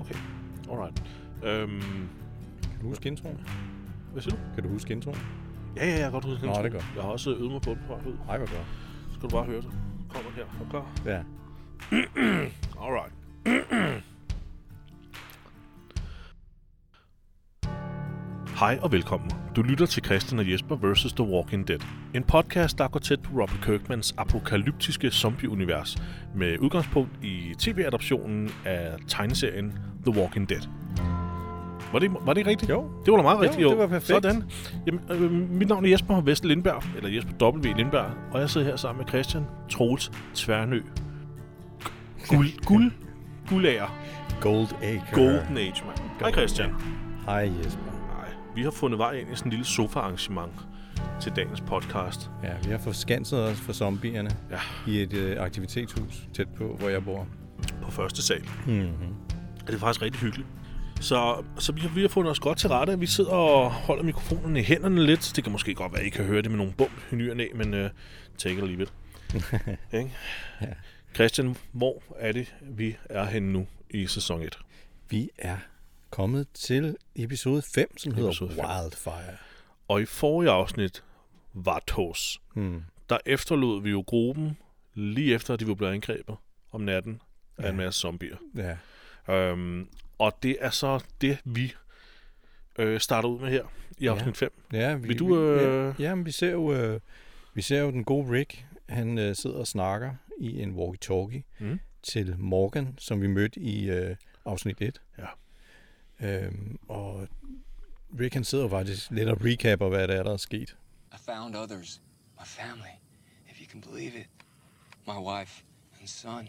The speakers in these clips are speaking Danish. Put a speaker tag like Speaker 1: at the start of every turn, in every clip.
Speaker 1: Okay, alright. Øhm,
Speaker 2: Kan du huske introen?
Speaker 1: hvad siger du?
Speaker 2: Kan du huske introen?
Speaker 1: Ja, ja, jeg kan godt huske
Speaker 2: Nå,
Speaker 1: intro.
Speaker 2: det er godt.
Speaker 1: Jeg har også øvet mig på det på vej ud.
Speaker 2: Ej, hvor godt.
Speaker 1: Så skal du bare høre det. Kommer her. Er du klar?
Speaker 2: Ja.
Speaker 1: Alright. Hej og velkommen. Du lytter til Christian og Jesper vs. The Walking Dead. En podcast, der går tæt på Robert Kirkmans apokalyptiske zombieunivers med udgangspunkt i tv-adoptionen af tegneserien The Walking Dead. Var det, var det ikke rigtigt?
Speaker 2: Jo.
Speaker 1: Det var da meget
Speaker 2: Jo,
Speaker 1: rigtigt,
Speaker 2: det var perfekt.
Speaker 1: Sådan. Jamen, øh, mit navn er Jesper Vest Lindberg, eller Jesper W. Lindberg, og jeg sidder her sammen med Christian Troels Tværnø. Guld, guld, guldager.
Speaker 2: Gold Acre.
Speaker 1: Golden Age, mand. Hej Christian.
Speaker 2: Hej, Jesper.
Speaker 1: Nej, vi har fundet vej ind i sådan en lille sofa-arrangement til dagens podcast.
Speaker 2: Ja, vi har forskanset os fra zombierne
Speaker 1: Ja.
Speaker 2: i et øh, aktivitetshus tæt på, hvor jeg bor.
Speaker 1: På første sal.
Speaker 2: Mm-hmm.
Speaker 1: Og det er faktisk rigtig hyggeligt. Så, så vi, har, vi har fundet os godt til rette. Vi sidder og holder mikrofonerne i hænderne lidt. Det kan måske godt være, at I kan høre det med nogle bump i ny og næ, men uh, take it or leave it. Ikke?
Speaker 2: Ja.
Speaker 1: Christian, hvor er det, vi er henne nu i sæson 1?
Speaker 2: Vi er kommet til episode 5, som hedder
Speaker 1: Episode fem.
Speaker 2: Wildfire.
Speaker 1: Og i forrige afsnit var Tås.
Speaker 2: Hmm.
Speaker 1: der efterlod vi jo gruppen lige efter, at de var blevet angrebet om natten af en masse zombier.
Speaker 2: Ja.
Speaker 1: Øhm, og det er så det, vi øh, starter ud med her i afsnit 5.
Speaker 2: ja vi,
Speaker 1: Vil du,
Speaker 2: vi-
Speaker 1: øh,
Speaker 2: Ja, jamen, vi ser jo... Øh, vi ser jo den gode Rick, han øh, sidder og snakker i en walkie-talkie
Speaker 1: Mm.
Speaker 2: til Morgan, som vi mødte i øh, afsnit 1.
Speaker 1: Ja.
Speaker 2: Øhm, og Rick han sidder jo faktisk lidt og recapper, hvad der er, der er sket.
Speaker 3: I found others. My family, if you can believe it. My wife and son.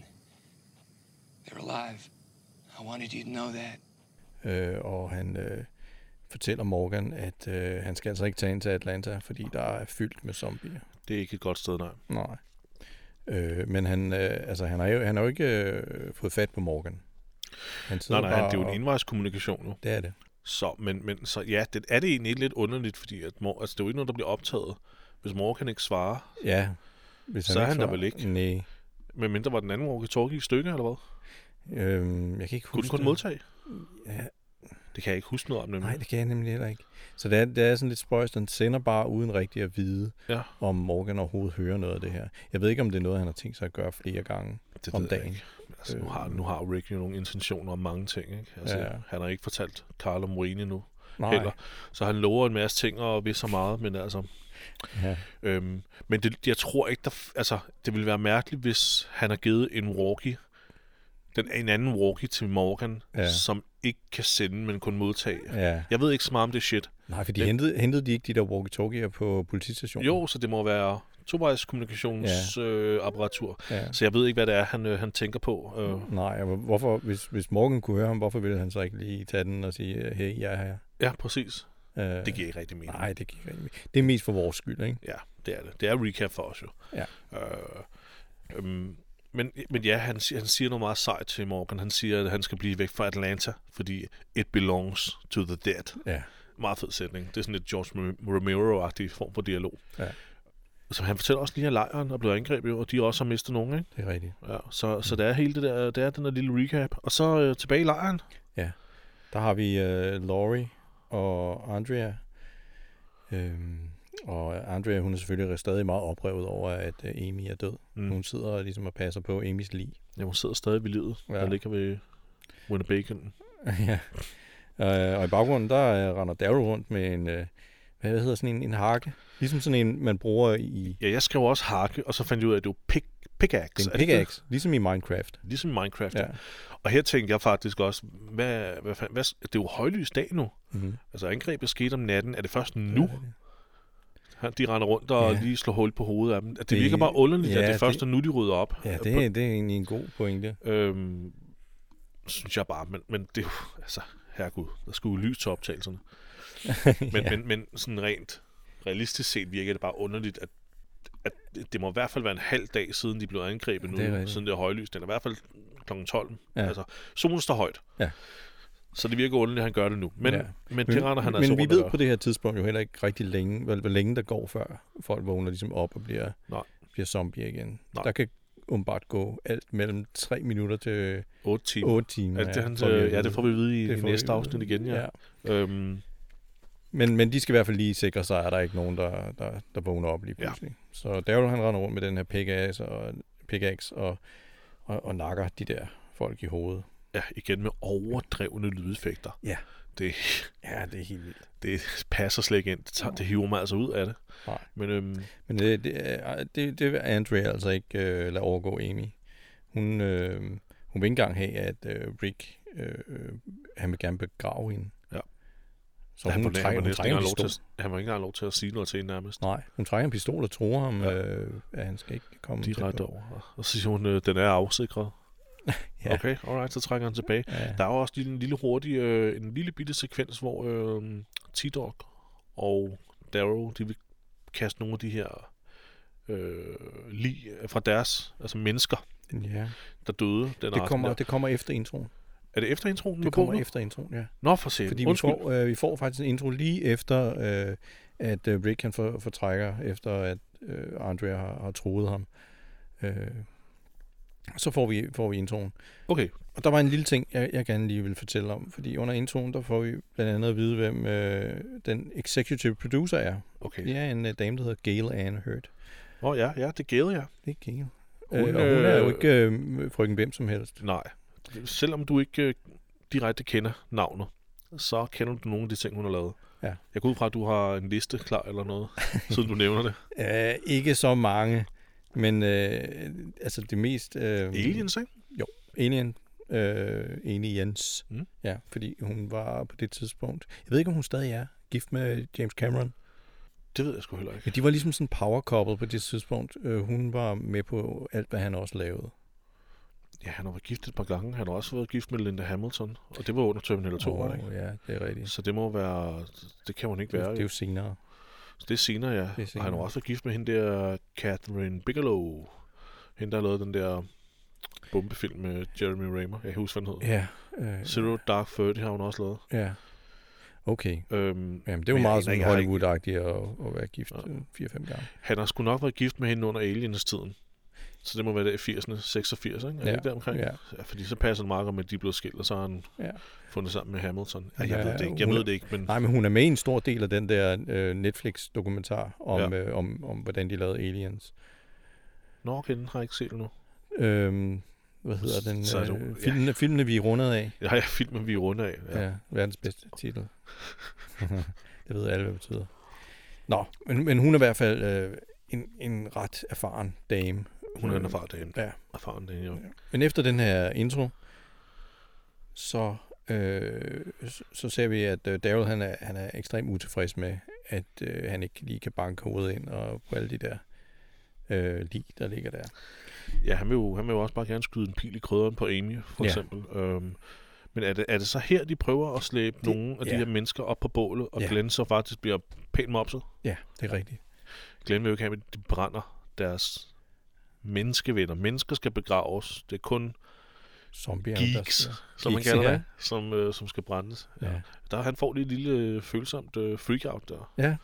Speaker 3: They're alive. I wanted you to know that.
Speaker 2: Øh, og han øh, fortæller Morgan, at øh, han skal altså ikke tage ind til Atlanta, fordi der er fyldt med zombier.
Speaker 1: Det er ikke et godt sted, nej.
Speaker 2: Nej. Øh, men han, øh, altså, han, har jo, han har jo ikke øh, fået fat på Morgan. Han
Speaker 1: Nej,
Speaker 2: sidder
Speaker 1: nej, det er jo
Speaker 2: og-
Speaker 1: en indvejskommunikation nu.
Speaker 2: Det er det.
Speaker 1: Så, men, men så ja, det, er det egentlig ikke lidt underligt, fordi at mor, altså, det er jo ikke noget, der bliver optaget. Hvis mor kan ikke svare,
Speaker 2: Ja. Hvis
Speaker 1: Så er
Speaker 2: ikke
Speaker 1: han der
Speaker 2: svarer-
Speaker 1: vel ikke?
Speaker 2: Nej.
Speaker 1: medmindre var den anden walkie-talkie i stykker, eller hvad?
Speaker 2: Øhm, jeg kan ikke
Speaker 1: Kunne den
Speaker 2: huske
Speaker 1: kun
Speaker 2: det.
Speaker 1: modtage?
Speaker 2: Ja,
Speaker 1: Det kan jeg ikke huske noget om, nemlig.
Speaker 2: nej, det kan jeg nemlig heller ikke. Så det er, det er sådan lidt spøjst. Den sender bare uden rigtig at vide,
Speaker 1: Ja.
Speaker 2: om Morgan overhovedet hører noget af det her. Jeg ved ikke, om det er noget, han har tænkt sig at gøre flere gange
Speaker 1: Det
Speaker 2: om
Speaker 1: ved jeg
Speaker 2: dagen.
Speaker 1: ikke. Altså, nu, har, nu har Rick jo nogle intentioner om mange ting. Ikke? Altså, ja.
Speaker 2: Ja.
Speaker 1: Han har ikke fortalt Carlo Morini nu
Speaker 2: Nej.
Speaker 1: heller. Så han lover en masse ting og vil så meget, men altså...
Speaker 2: Ja.
Speaker 1: Øhm, men det, jeg tror ikke, der... f- Altså, det ville være mærkeligt, hvis han har givet en walkie, den, en anden walkie til Morgan, ja.
Speaker 2: Ja.
Speaker 1: som ikke kan sende, men kun modtage. Ja.
Speaker 2: ja.
Speaker 1: Jeg ved ikke så meget om det shit.
Speaker 2: Nej, for de hentede, hentede de ikke de der walkie-talkier på politistationen?
Speaker 1: Jo, så det må være tovejskommunikationsapparatur. Ja.
Speaker 2: Ja.
Speaker 1: Øh, så jeg ved ikke, hvad det er, han, øh, han tænker på. Øh,
Speaker 2: Nej, og hvorfor, hvis, hvis Morgan kunne høre ham, hvorfor ville han så ikke lige tage den og sige, hey, jeg er her?
Speaker 1: ja, præcis.
Speaker 2: Øh,
Speaker 1: Det giver ikke rigtig mening.
Speaker 2: Nej, det giver ikke. rigtig mening. Det er mest for vores skyld, ikke?
Speaker 1: Ja, det er det. Det er recap for os jo.
Speaker 2: Ja.
Speaker 1: Øh, øhm, men, men ja, han, siger- han siger noget meget sejt til Morgan. Han siger, at han skal blive væk fra Atlanta, fordi it belongs to the dead.
Speaker 2: Ja.
Speaker 1: Meget fed sætning. Det er sådan lidt George Rom- Romero-agtig form for dialog.
Speaker 2: Ja.
Speaker 1: Så han fortæller også lige, at lejren er blevet angrebet, og de også har mistet nogen. Ikke?
Speaker 2: Det er rigtigt.
Speaker 1: Ja, så,
Speaker 2: Mm.
Speaker 1: så det er hele det der, det er den der lille recap. Og så øh, tilbage i lejren.
Speaker 2: Ja. Der har vi øh, Laurie og Andrea. Øhm, og Andrea, hun er selvfølgelig stadig meget oprevet over, at øh, Amy er død.
Speaker 1: Mm.
Speaker 2: Mm. Hun sidder og ligesom og passer på Amys lig.
Speaker 1: Ja, hun sidder stadig ved livet. Ja.
Speaker 2: Ja.
Speaker 1: Der ligger ved Winnebago.
Speaker 2: ja. Øh, og i baggrunden, der øh, render Daryl rundt med en, øh, hvad hedder sådan en, en hakke. Ligesom sådan en, man bruger i...
Speaker 1: Ja, jeg skrev også hakke, og så fandt jeg ud af, at det var pick, pickaxe.
Speaker 2: Det er
Speaker 1: Er
Speaker 2: en
Speaker 1: det ikke det?
Speaker 2: pickaxe, ligesom i Minecraft.
Speaker 1: Ligesom i Minecraft. Ja.
Speaker 2: Ja.
Speaker 1: Og her tænkte jeg faktisk også, hvad, hvad, fanden- hvad, det er jo højlys dag nu.
Speaker 2: Mm-hmm.
Speaker 1: Altså angrebet skete om natten. Er det først nu, ja, de render rundt og ja.
Speaker 2: Ja.
Speaker 1: lige slår hul på hovedet af dem? Altså, Det, det
Speaker 2: Det-
Speaker 1: virker bare underligt, ja,
Speaker 2: ja,
Speaker 1: at det
Speaker 2: det-
Speaker 1: først er nu, de rydder op. Øh,
Speaker 2: Ja, det, er- det er egentlig en god pointe.
Speaker 1: Øhm, synes jeg bare, men, men det er jo, altså, herregud, der skulle jo lys til optagelserne. Men, ja. men, men sådan rent realistisk set virker det bare underligt, at, at det må i hvert fald være en halv dag siden, de blev angrebet nu,
Speaker 2: Det er rigtigt.
Speaker 1: siden det er højlyst, eller i hvert fald kl. 12. Ja.
Speaker 2: Ja.
Speaker 1: Altså, solen står højt.
Speaker 2: Ja.
Speaker 1: Så det virker underligt, at han gør det nu. Men, ja.
Speaker 2: Ja.
Speaker 1: men det render han
Speaker 2: men
Speaker 1: altså
Speaker 2: vi
Speaker 1: rundt og
Speaker 2: ved
Speaker 1: gør.
Speaker 2: på det her tidspunkt jo heller ikke rigtig længe, hvor, hvor længe der går, før folk vågner ligesom op og bliver,
Speaker 1: Nej.
Speaker 2: bliver zombie igen.
Speaker 1: Nej.
Speaker 2: Der kan åbenbart gå alt mellem 3 minutter til
Speaker 1: 8 timer.
Speaker 2: 8 timer.
Speaker 1: Ja, det, er hans,
Speaker 2: får vi at
Speaker 1: øh,
Speaker 2: vide.
Speaker 1: ja, det får vi at vide i,
Speaker 2: Det
Speaker 1: i
Speaker 2: får vi
Speaker 1: næste
Speaker 2: at
Speaker 1: afsnit
Speaker 2: vide.
Speaker 1: igen, ja. ja. Øhm,
Speaker 2: Men, men de skal i hvert fald lige sikre sig, at der er ikke nogen, der, der, der vågner op lige
Speaker 1: Ja.
Speaker 2: pludselig. Ja. Så Daryl han render rundt med den her pickaxe og, pickaxe og, og, og nakker de der folk i hovedet.
Speaker 1: ja, igen med overdrevne lydeffekter.
Speaker 2: Ja.
Speaker 1: Det,
Speaker 2: Ja, det er helt vildt.
Speaker 1: det passer slet ikke ind. Det, tager, det hiver mig altså ud af det.
Speaker 2: Nej.
Speaker 1: Men øhm,
Speaker 2: Men det, det, er- det, det vil Andrea altså ikke øh, lade overgå Amy. Hun, øh, hun vil ikke engang have, at øh, Rick øh, øh, han vil gerne begrave hende.
Speaker 1: Ja.
Speaker 2: Så
Speaker 1: han,
Speaker 2: hun,
Speaker 1: får- han,
Speaker 2: trækker,
Speaker 1: var
Speaker 2: hun
Speaker 1: næsten ikke
Speaker 2: trækker en
Speaker 1: engang lov til,
Speaker 2: pistol.
Speaker 1: at- han var ikke engang lov til at sige noget til hende nærmest.
Speaker 2: Nej, hun trækker en pistol og tror ham,
Speaker 1: Ja.
Speaker 2: ja. øh, at han skal ikke komme tæt
Speaker 1: Direkte
Speaker 2: på.
Speaker 1: over. Og- Og så siger hun, øh, den er afsikret.
Speaker 2: Ja.
Speaker 1: Okay, alright, så trækker han tilbage.
Speaker 2: Ja.
Speaker 1: Der er jo også lige en lille hurtig, øh, en lille bitte sekvens, hvor øh, T-Dog og Darrow, de vil kaste nogle af de her øh, lige fra deres, altså mennesker,
Speaker 2: ja.
Speaker 1: der døde den aften
Speaker 2: Det, kommer,
Speaker 1: der.
Speaker 2: det kommer efter introen.
Speaker 1: Er det efter introen?
Speaker 2: Det kommer efter introen, ja.
Speaker 1: Nå, for sent.
Speaker 2: Fordi
Speaker 1: Fordi
Speaker 2: vi
Speaker 1: Undskyld.
Speaker 2: får, øh, vi får faktisk en intro lige efter, øh, at øh, Rick han for, fortrækker, efter at øh, Andrea har, har troet ham. Øh, så får vi, får vi introen.
Speaker 1: Okay,
Speaker 2: Og der var en lille ting, jeg, jeg gerne lige vil fortælle om. Fordi under introen, der får vi blandt andet at vide, hvem øh, den executive producer er.
Speaker 1: okay.
Speaker 2: Det er en øh, dame, der hedder Gail Ann Hurt.
Speaker 1: Nå ja, ja, det gæder jeg.
Speaker 2: Det er Gail.
Speaker 1: Hun,
Speaker 2: Hun, øh, og hun er jo
Speaker 1: øh,
Speaker 2: ikke øh, frygten hvem som helst.
Speaker 1: Nej. Selvom du ikke øh, direkte kender navnet, så kender du nogle af de ting, hun har lavet.
Speaker 2: Ja.
Speaker 1: Jeg går ud fra, at du har en liste klar eller noget, siden du nævner det.
Speaker 2: Øh, ikke så mange, men øh, altså det mest... Øh,
Speaker 1: Aliens, ikke?
Speaker 2: Alien. Øh, Aliens.
Speaker 1: Mm.
Speaker 2: Mm. Ja, fordi hun var på det tidspunkt... Jeg ved ikke, om hun stadig er gift med James Cameron.
Speaker 1: Det ved jeg sgu heller ikke.
Speaker 2: Men de var ligesom sådan power couple på det tidspunkt. Øh, hun var med på alt, hvad han også lavede.
Speaker 1: Ja, han har været gift et par gange. Han har også været gift med Linda Hamilton, og det var under Terminator 2, oh, var det ikke?
Speaker 2: Ja, det er rigtigt.
Speaker 1: Så det må være... Det kan hun ikke
Speaker 2: Det,
Speaker 1: være.
Speaker 2: det er
Speaker 1: Det,
Speaker 2: jo senere.
Speaker 1: det er senere, ja. Det er senere. Og han har
Speaker 2: senere.
Speaker 1: også været gift med hende der Catherine Bigelow. Hende, der har lavet den der bombefilm med Jeremy Raymer. Jeg kan ikke huske, hvad den hed.
Speaker 2: Ja. Øh,
Speaker 1: Zero Dark Thirty har hun også lavet.
Speaker 2: ja. Okay.
Speaker 1: Øhm,
Speaker 2: Jamen, det var
Speaker 1: Men jeg
Speaker 2: meget
Speaker 1: aner
Speaker 2: sådan
Speaker 1: ikke, jeg har
Speaker 2: Hollywood-agtigt at, at være gift
Speaker 1: Ja.
Speaker 2: øh, 4-5 gange.
Speaker 1: Han har sgu nok været gift med hende under aliens-tiden. Så det må være der i 80'erne, 86, ikke? Er ja.
Speaker 2: Ja,
Speaker 1: det der omkring?
Speaker 2: ja.
Speaker 1: ja. fordi så passer det meget godt med, at de er blevet skilt, og så har han
Speaker 2: Ja.
Speaker 1: fundet sammen med Hamilton. Ja, jeg
Speaker 2: Ja,
Speaker 1: ved det ikke, jeg
Speaker 2: hun-
Speaker 1: ved det ikke, men...
Speaker 2: Nej, men hun er med i en stor del af den der øh, Netflix-dokumentar om, ja. øh, om, om, hvordan de lavede Aliens.
Speaker 1: Nå, okay, den har jeg ikke set endnu.
Speaker 2: Øhm, hvad hedder den?
Speaker 1: Så er det-
Speaker 2: øh,
Speaker 1: ja.
Speaker 2: filmene, filmene, vi er rundet af.
Speaker 1: Jeg har jeg filmen, vi er runde af. Ja.
Speaker 2: Ja. ja verdens bedste titel. det ved alle, hvad det betyder. Nå, men, men hun er i hvert fald øh, en, en ret erfaren dame.
Speaker 1: Hun er en erfaren dame.
Speaker 2: Ja.
Speaker 1: Erfaren dame, jo.
Speaker 2: Men efter den her intro, så, øh, så- så ser vi, at øh, Daryl han er, han er ekstremt utilfreds med, at øh, han ikke lige kan banke hovedet ind og på alle de der øh, lig, der ligger der.
Speaker 1: Ja, han vil, jo, han vil jo også bare gerne skyde en pil i krydderen på Amy, for
Speaker 2: Ja.
Speaker 1: eksempel. Øhm, men er det, er det så her, de prøver at slæbe det, nogle af de
Speaker 2: ja.
Speaker 1: her mennesker op på bålet, og
Speaker 2: Ja.
Speaker 1: Glenn så faktisk bliver pænt mopset?
Speaker 2: Ja, det er rigtigt.
Speaker 1: Glenn vil jo ikke have, at de brænder deres menneskevenner. Mennesker skal begraves. Det er kun
Speaker 2: Zombier.
Speaker 1: geeks, som man
Speaker 2: Geeks,
Speaker 1: kalder
Speaker 2: ja.
Speaker 1: det, som, øh, som skal brændes.
Speaker 2: Ja. Ja.
Speaker 1: Der, han får lige et lille øh, følsomt øh, freakout der.
Speaker 2: ja,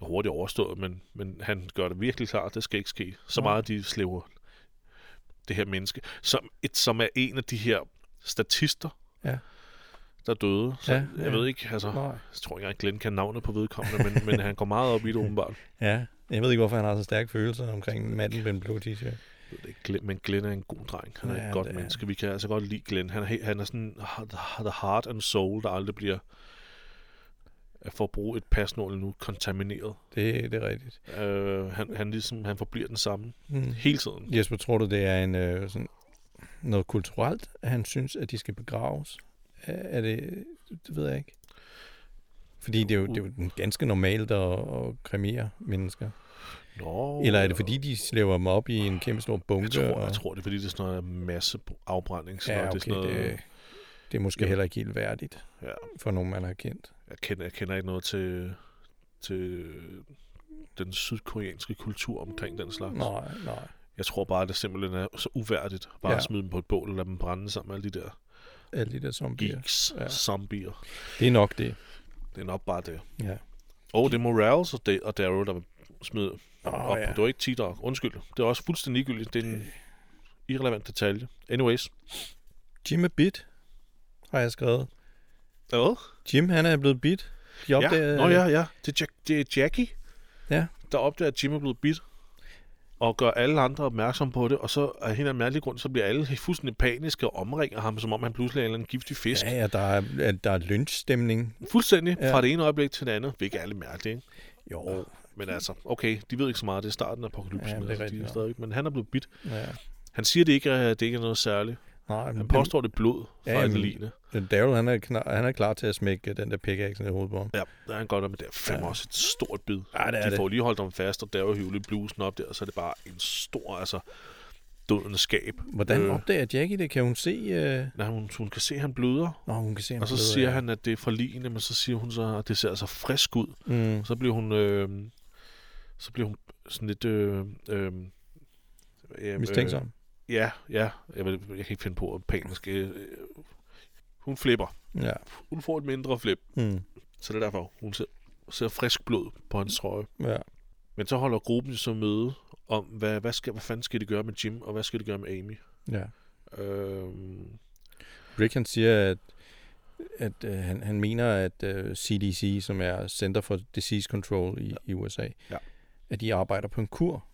Speaker 1: Hurtigt overstået, men, men han gør det virkelig klart, det skal ikke ske. Så
Speaker 2: Nej.
Speaker 1: meget de slæver det her menneske, som, et, som er en af de her statister,
Speaker 2: Ja.
Speaker 1: der døde. Så
Speaker 2: Ja,
Speaker 1: ja, ja.
Speaker 2: ja.
Speaker 1: jeg ved ikke, altså,
Speaker 2: nej.
Speaker 1: jeg tror ikke engang, Glenn kan navnet på vedkommende, men, men han går meget op i det åbenbart.
Speaker 2: Ja, jeg ved ikke, hvorfor han har så stærke følelser omkring manden med en blå t-shirt.
Speaker 1: Jeg ved det ikke, Glenn- men Glenn er en god dreng. Han er ja,
Speaker 2: Ja,
Speaker 1: et godt
Speaker 2: det er
Speaker 1: menneske. Vi kan altså godt lide Glenn. Han er, he- han er sådan har- har the heart and soul, der aldrig bliver at for at bruge et pasnål nu, kontamineret.
Speaker 2: Det, det er rigtigt.
Speaker 1: Uh, han, han, ligesom, han forbliver den samme
Speaker 2: Mm.
Speaker 1: hele tiden.
Speaker 2: Jesper, tror du, det er en, øh, sådan, noget kulturelt, at han synes, at de skal begraves? Er, er det, det ved jeg ikke. Fordi det er jo, det er
Speaker 1: Uh.
Speaker 2: jo ganske normalt at, at kremere mennesker.
Speaker 1: Nå,
Speaker 2: Eller er det, fordi de slæver dem op i en kæmpe stor bunke?
Speaker 1: Uh. Jeg tror,
Speaker 2: og-
Speaker 1: jeg tror, det er fordi, det er sådan noget masse afbrænding. Sådan
Speaker 2: ja,
Speaker 1: noget.
Speaker 2: okay,
Speaker 1: det er sådan noget,
Speaker 2: det, det er måske
Speaker 1: Ja.
Speaker 2: heller ikke helt værdigt
Speaker 1: Ja.
Speaker 2: for nogen, man har kendt.
Speaker 1: Jeg, kender, jeg kender ikke noget til, til den sydkoreanske kultur omkring den slags.
Speaker 2: Nej, nej.
Speaker 1: Jeg tror bare, det simpelthen er så uværdigt bare ja.
Speaker 2: Ja.
Speaker 1: at smide dem på et bål og lade dem brænde sammen med alle de der
Speaker 2: Alle de der zombier.
Speaker 1: geeks, ja.
Speaker 2: Ja.
Speaker 1: zombier.
Speaker 2: Det er nok det.
Speaker 1: Det er nok bare det.
Speaker 2: Ja.
Speaker 1: Og det er Morales og, da- og Darrow, der smider oh,
Speaker 2: Åh,
Speaker 1: op. Ja.
Speaker 2: ja.
Speaker 1: Det var ikke T-Dog. Undskyld. Det er også fuldstændig ligegyldigt. Det er en irrelevant detalje. Anyways.
Speaker 2: Jim er bit, har jeg skrevet.
Speaker 1: Hvad?
Speaker 2: Jim, han er blevet bit. De opdagede,
Speaker 1: Ja. Nå ja, ja. Det er, Jack, det er Jackie,
Speaker 2: ja.
Speaker 1: der opdager, at Jim er blevet bidt og gør alle andre opmærksom på det, og så af en eller anden mærkelig grund, så bliver alle fuldstændig paniske og omringer ham, som om han pludselig er en eller anden giftig fisk.
Speaker 2: Ja, ja, der er, at der er lynchstemning.
Speaker 1: Fuldstændig
Speaker 2: Ja.
Speaker 1: ja. fra det ene øjeblik til det andet, hvilket er lidt mærkeligt, ikke?
Speaker 2: Jo,
Speaker 1: Men altså, okay, de ved ikke så meget, det er starten af apokalypsen,
Speaker 2: Ja,
Speaker 1: ja,
Speaker 2: det er
Speaker 1: altså,
Speaker 2: rigtigt
Speaker 1: de er
Speaker 2: nok.
Speaker 1: stadig, men han er blevet bidt.
Speaker 2: ja.
Speaker 1: Han siger, det ikke er, det ikke er noget særligt.
Speaker 2: Nej,
Speaker 1: Han påstår, det er blod fra
Speaker 2: Ja,
Speaker 1: ja,
Speaker 2: jamen.
Speaker 1: Adeline.
Speaker 2: Daryl, han er, knar, han er klar til at smække den der pickaxe ned i hovedet på ham.
Speaker 1: Ja, der er han godt, men det er fandme
Speaker 2: Ja.
Speaker 1: ja. også et stort bid.
Speaker 2: Ja, det er
Speaker 1: de
Speaker 2: det.
Speaker 1: får lige holdt ham fast, og der er jo blusen op der, og så er det bare en stor, altså, dødens skab.
Speaker 2: Hvordan øh. opdager Jackie det? Kan hun se... Øh...
Speaker 1: Nej, hun, hun kan se, at han bløder,
Speaker 2: Nå, hun kan se,
Speaker 1: og så
Speaker 2: bløder,
Speaker 1: siger
Speaker 2: ja.
Speaker 1: han, at det er fra ligene, men så siger hun så, at det ser altså frisk ud.
Speaker 2: Mm.
Speaker 1: Og så bliver hun, øh, så bliver hun sådan lidt... Øh, øh, ja,
Speaker 2: Mistænksom.
Speaker 1: Øh, ja, ja. Jeg, ved- jeg kan ikke finde på, at panisk... Øh, hun flipper.
Speaker 2: Ja.
Speaker 1: Hun får et mindre flip,
Speaker 2: Mm.
Speaker 1: så det er derfor, hun ser, ser frisk blod på hans trøje.
Speaker 2: ja.
Speaker 1: Men så holder gruppen så møde om, hvad, hvad, skal, hvad fanden skal de gøre med Jim, og hvad skal de gøre med Amy?
Speaker 2: Ja.
Speaker 1: Øhm,
Speaker 2: Rick, han siger, at, at øh, han, han mener, at øh, CDC, som er Center for Disease Control i, ja. i USA,
Speaker 1: Ja.
Speaker 2: at de arbejder på en kur.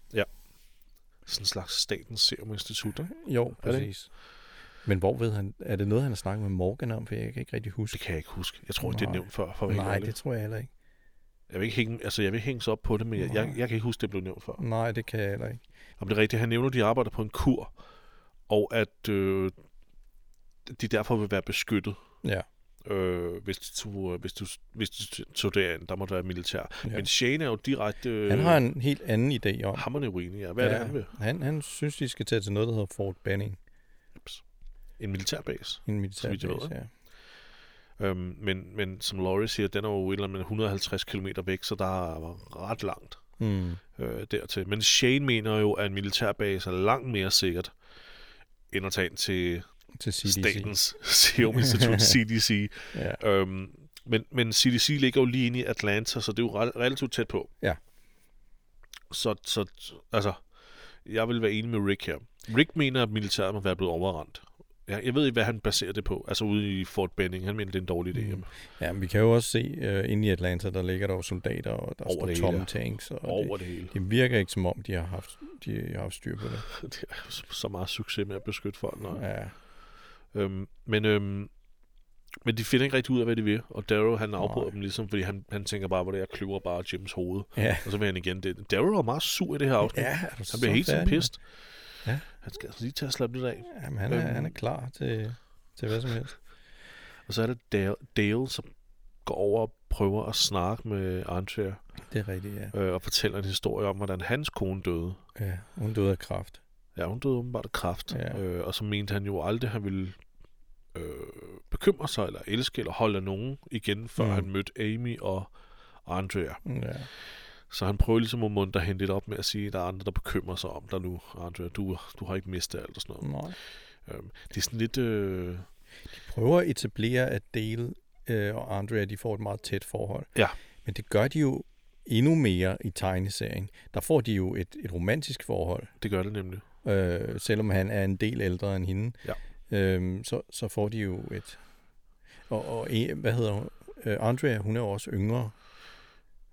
Speaker 1: sådan en slags statens serum institut, ikke?
Speaker 2: Jo,
Speaker 1: Er det
Speaker 2: præcis. Men hvor ved han, er det noget, han har snakket med Morgan om, for jeg kan ikke rigtig
Speaker 1: Det
Speaker 2: huske.
Speaker 1: kan jeg ikke huske. Jeg tror ikke, det er
Speaker 2: Nej.
Speaker 1: nævnt før. For at være helt
Speaker 2: Nej,
Speaker 1: ærlig.
Speaker 2: det tror jeg heller ikke.
Speaker 1: Jeg vil ikke hænge, altså, jeg vil ikke hænges op på det, men jeg,
Speaker 2: Nej.
Speaker 1: jeg, jeg kan ikke huske, det blev nævnt før.
Speaker 2: Nej, det kan jeg heller ikke.
Speaker 1: Om det er rigtigt, han nævner, at de arbejder på en kur, og at øh, de derfor vil være beskyttet,
Speaker 2: Ja.
Speaker 1: øh, hvis, de tog, hvis, du, hvis de tog det an. Der måtte være militær.
Speaker 2: Ja.
Speaker 1: Ja. Men Shane er jo direkte øh,
Speaker 2: Han har en helt anden idé om.
Speaker 1: hammerne uenig. Ja. Hvad ja. er det, han vil?
Speaker 2: han, han synes, de skal tage til noget, der hedder Fort Benning.
Speaker 1: En militærbase.
Speaker 2: En
Speaker 1: Så vidt jeg ved,
Speaker 2: militærbase, ja.
Speaker 1: Øhm, men, men som Laurie siger, den er jo et eller andet 150 km væk, så der er ret langt
Speaker 2: Mm.
Speaker 1: øh, dertil. Men Shane mener jo, at en militærbase er langt mere sikkert, end at tage ind til
Speaker 2: Til CDC.
Speaker 1: Statens Serum Institut, CDC.
Speaker 2: Ja.
Speaker 1: Øhm, men, men CDC ligger jo lige inde i Atlanta, så det er jo re- relativt tæt på.
Speaker 2: Ja.
Speaker 1: Så, så altså, jeg vil være enig med Rick her. Rick mener, at militæret må være blevet overrendt. Jeg, jeg ved ikke, hvad han baserer det på. Altså ude i Fort Benning, han mener, det er en dårlig idé.
Speaker 2: Mm.
Speaker 1: Mm.
Speaker 2: ja, men vi kan jo også se, uh, inde i Atlanta, der ligger der jo soldater, og der
Speaker 1: Over
Speaker 2: står
Speaker 1: det
Speaker 2: tomme
Speaker 1: hele.
Speaker 2: tanks. Og
Speaker 1: Over
Speaker 2: det,
Speaker 1: det hele.
Speaker 2: det virker ikke som om, de har haft, de har haft styr på det.
Speaker 1: Det er jo så- så meget succes med at beskytte folk. Nej.
Speaker 2: Ja,
Speaker 1: Øhm, men, øhm, men de finder ikke rigtig ud af, hvad de vil. Og Darrow, han afbryder
Speaker 2: Nej.
Speaker 1: dem ligesom, fordi han, han tænker bare, hvor det er, jeg kløver bare Jims hoved.
Speaker 2: ja.
Speaker 1: Og så vil han igen det. Darrow er meget sur i det her afsnit.
Speaker 2: ja
Speaker 1: Han bliver helt sådan pist.
Speaker 2: Ja.
Speaker 1: Han skal altså lige til at slappe lidt af.
Speaker 2: Jamen, han, er,
Speaker 1: Øhm.
Speaker 2: han er klar til, til hvad som helst.
Speaker 1: Og så er det Dale, Dale som går over og prøver at snakke med Andrea
Speaker 2: Det er rigtigt, ja.
Speaker 1: øh, og fortæller en historie om, hvordan hans kone døde.
Speaker 2: ja hun døde af kraft.
Speaker 1: Ja, hun døde åbenbart af kræft.
Speaker 2: Ja.
Speaker 1: Øh, og så mente han jo aldrig, han ville øh, bekymre sig, eller elske, eller holde af nogen igen, før
Speaker 2: Mm.
Speaker 1: mm. han mødte Amy og Andrea.
Speaker 2: Ja.
Speaker 1: Så han prøver ligesom at muntre hende lidt op med at sige, at der er andre, der bekymrer sig om dig nu, Andrea. Du, du har ikke mistet alt og sådan noget.
Speaker 2: Nej.
Speaker 1: Øh, det er sådan lidt... Øh,
Speaker 2: prøver at etablere, at Dale øh, og Andrea, de får et meget tæt forhold.
Speaker 1: Ja.
Speaker 2: Men det gør de jo endnu mere i tegneserien. Der får de jo et, et romantisk forhold.
Speaker 1: det gør det nemlig.
Speaker 2: Øh, selvom han er en del ældre end hende,
Speaker 1: Ja.
Speaker 2: øhm, så, så får de jo et... Og, og en- hvad hedder hun? Øh, Andrea, hun er jo også yngre.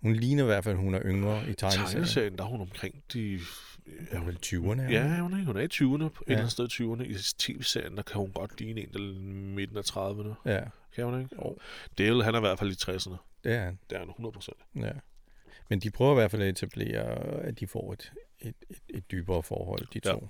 Speaker 2: Hun ligner i hvert fald, at hun er yngre i tegneserien.
Speaker 1: tegneserien, der er hun omkring de...
Speaker 2: Er hun i 20'erne? er hun?
Speaker 1: Ja, hun er, hun er i 20'erne, på et
Speaker 2: Ja.
Speaker 1: eller andet sted i 20'erne. I tv-serien, der kan hun godt ligne en, der er midten af 30'erne.
Speaker 2: Ja,
Speaker 1: Kan hun ikke?
Speaker 2: Jo.
Speaker 1: Dale, han er i hvert fald i 60'erne.
Speaker 2: det er han.
Speaker 1: Det er han 100%.
Speaker 2: Ja. Men de prøver i hvert fald at etablere, at de får et, et, et, et dybere forhold, de
Speaker 1: Ja.
Speaker 2: to.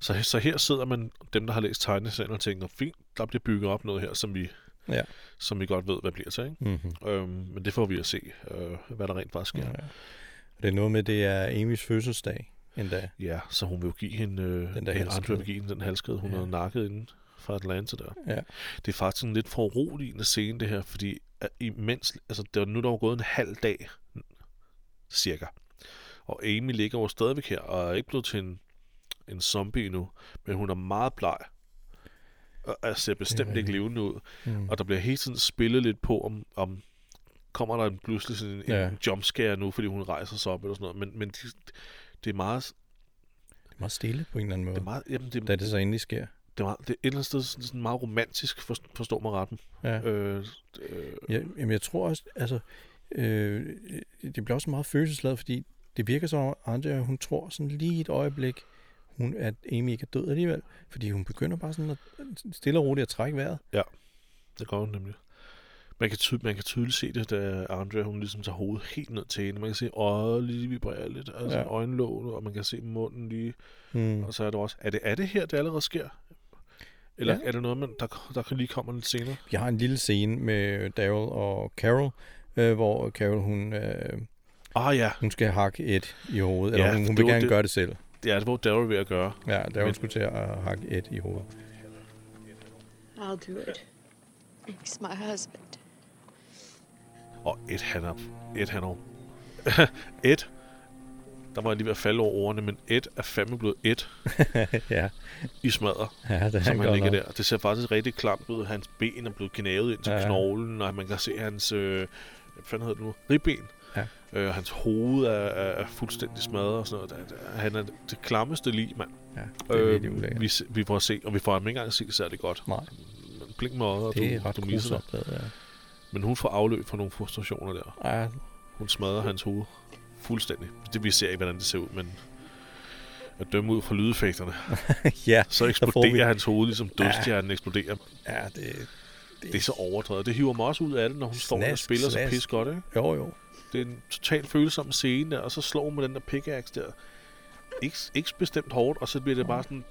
Speaker 1: Så, så her sidder man, dem der har læst tegneserien, og tænker, fint, der bliver bygget op noget her, som vi,
Speaker 2: Ja.
Speaker 1: som vi godt ved, hvad bliver til. Ikke?
Speaker 2: Mm-hmm.
Speaker 1: Øhm, men det får vi at se, øh, hvad der rent faktisk sker.
Speaker 2: Ja.
Speaker 1: Ja.
Speaker 2: Og det er noget med, det er Amys fødselsdag endda.
Speaker 1: ja, så hun vil jo give hende, øh,
Speaker 2: Den
Speaker 1: den
Speaker 2: der
Speaker 1: der
Speaker 2: halskæde.
Speaker 1: Andrea vil give hende den halskede, hun
Speaker 2: Ja.
Speaker 1: ja. havde nakket inden fra Atlanta der.
Speaker 2: Ja.
Speaker 1: det er faktisk en lidt foruroligende scene, det her, fordi at imens, altså det var nu, der var gået en halv dag, cirka. Og Amy ligger jo stadigvæk her, og er ikke blevet til en, en zombie endnu, men hun er meget bleg, og er- ser bestemt ikke
Speaker 2: rigtigt.
Speaker 1: levende ud.
Speaker 2: Mm.
Speaker 1: Og der bliver hele tiden spillet lidt på, om, om kommer der en pludselig sådan en,
Speaker 2: Ja.
Speaker 1: ja. jumpscare nu, fordi hun rejser sig op eller sådan noget. Men, men de, det er meget
Speaker 2: meget stille på en eller anden måde,
Speaker 1: Det er meget, jamen, det,
Speaker 2: da
Speaker 1: det,
Speaker 2: det så endelig sker.
Speaker 1: er meget, det er et eller andet sted sådan sådan meget romantisk, forst- forstår mig retten.
Speaker 2: Ja.
Speaker 1: Øh, øh,
Speaker 2: Ja, jamen jeg tror også, altså, øh, det bliver også meget følelsesladet, fordi det virker som om, Andrea, hun tror sådan lige et øjeblik, hun, at Amy ikke er død alligevel, fordi hun begynder bare sådan at stille og roligt at trække vejret.
Speaker 1: det gør hun nemlig. Man kan, ty- man kan tydeligt se det, da Andrea hun ligesom tager hovedet helt ned til hende. Man kan se øjet lige vibrere lidt, altså
Speaker 2: Ja.
Speaker 1: ja. øjenlåget, og man kan se munden lige.
Speaker 2: Mm.
Speaker 1: Og så er det også, er det, er det her, det allerede sker? Eller
Speaker 2: Ja.
Speaker 1: ja. er det noget, man, der, der kan lige kommer lidt senere?
Speaker 2: Vi har en lille scene med Daryl og Carol, øh, hvor Carol, hun, øh,
Speaker 1: Ah ja,
Speaker 2: hun skal hakke et i hovedet, eller
Speaker 1: Ja,
Speaker 2: ja, hun, hun
Speaker 1: det
Speaker 2: vil
Speaker 1: var
Speaker 2: gerne det.
Speaker 1: det-
Speaker 2: gøre det selv.
Speaker 1: det er det, hvor Daryl er ved at gøre.
Speaker 2: Ja, Daryl
Speaker 1: Men-
Speaker 2: skulle til at hakke et i hovedet.
Speaker 4: I'll do it. He's my husband.
Speaker 1: Og Ed, han er... Ed, han er... Ed. Der var jeg lige ved at falde over ordene, men Ed er fandme blevet Ed
Speaker 2: ja,
Speaker 1: i smadder,
Speaker 2: ja, det er
Speaker 1: som han
Speaker 2: godt
Speaker 1: ligger
Speaker 2: nok.
Speaker 1: der. Det ser faktisk rigtig klamt ud. Hans ben er blevet knævet ind til
Speaker 2: Ja, ja.
Speaker 1: ja. knoglen, og man kan se hans... Øh, hvad fanden hedder det nu? Ribben.
Speaker 2: Ja.
Speaker 1: Øh, hans hoved er, er, er fuldstændig smadret og sådan noget. Der- der- Han er det klammeste lige, mand. Øh,
Speaker 2: Ja, det er virkelig ulækkert.
Speaker 1: vi, se- vi får at se, og vi får ham ikke engang at se særlig godt.
Speaker 2: Nej,
Speaker 1: Men Blink med øjet, og
Speaker 2: det er
Speaker 1: du,
Speaker 2: ret
Speaker 1: du misser dig.
Speaker 2: grusomt. det der.
Speaker 1: Men hun får afløb for nogle frustrationer der.
Speaker 2: Ja,
Speaker 1: Hun smadrer hans hoved fuldstændig. Det vi ser ikke, hvordan det ser ud, men at dømme ud fra lydeffekterne,
Speaker 2: ja,
Speaker 1: så
Speaker 2: får vi-
Speaker 1: eksploderer hans hoved, ligesom dødstjernen ja. eksploderer.
Speaker 2: ja det,
Speaker 1: Det er så overdrevet. Det hiver mig også ud af det, når hun står der og
Speaker 2: Snask,
Speaker 1: spiller så
Speaker 2: snask.
Speaker 1: pis godt, ikke?
Speaker 2: Jo, jo.
Speaker 1: Det er en totalt følsom scene, der, og så slår hun med den der pickaxe der. Ikke, ikke bestemt hårdt, og så bliver det bare sådan...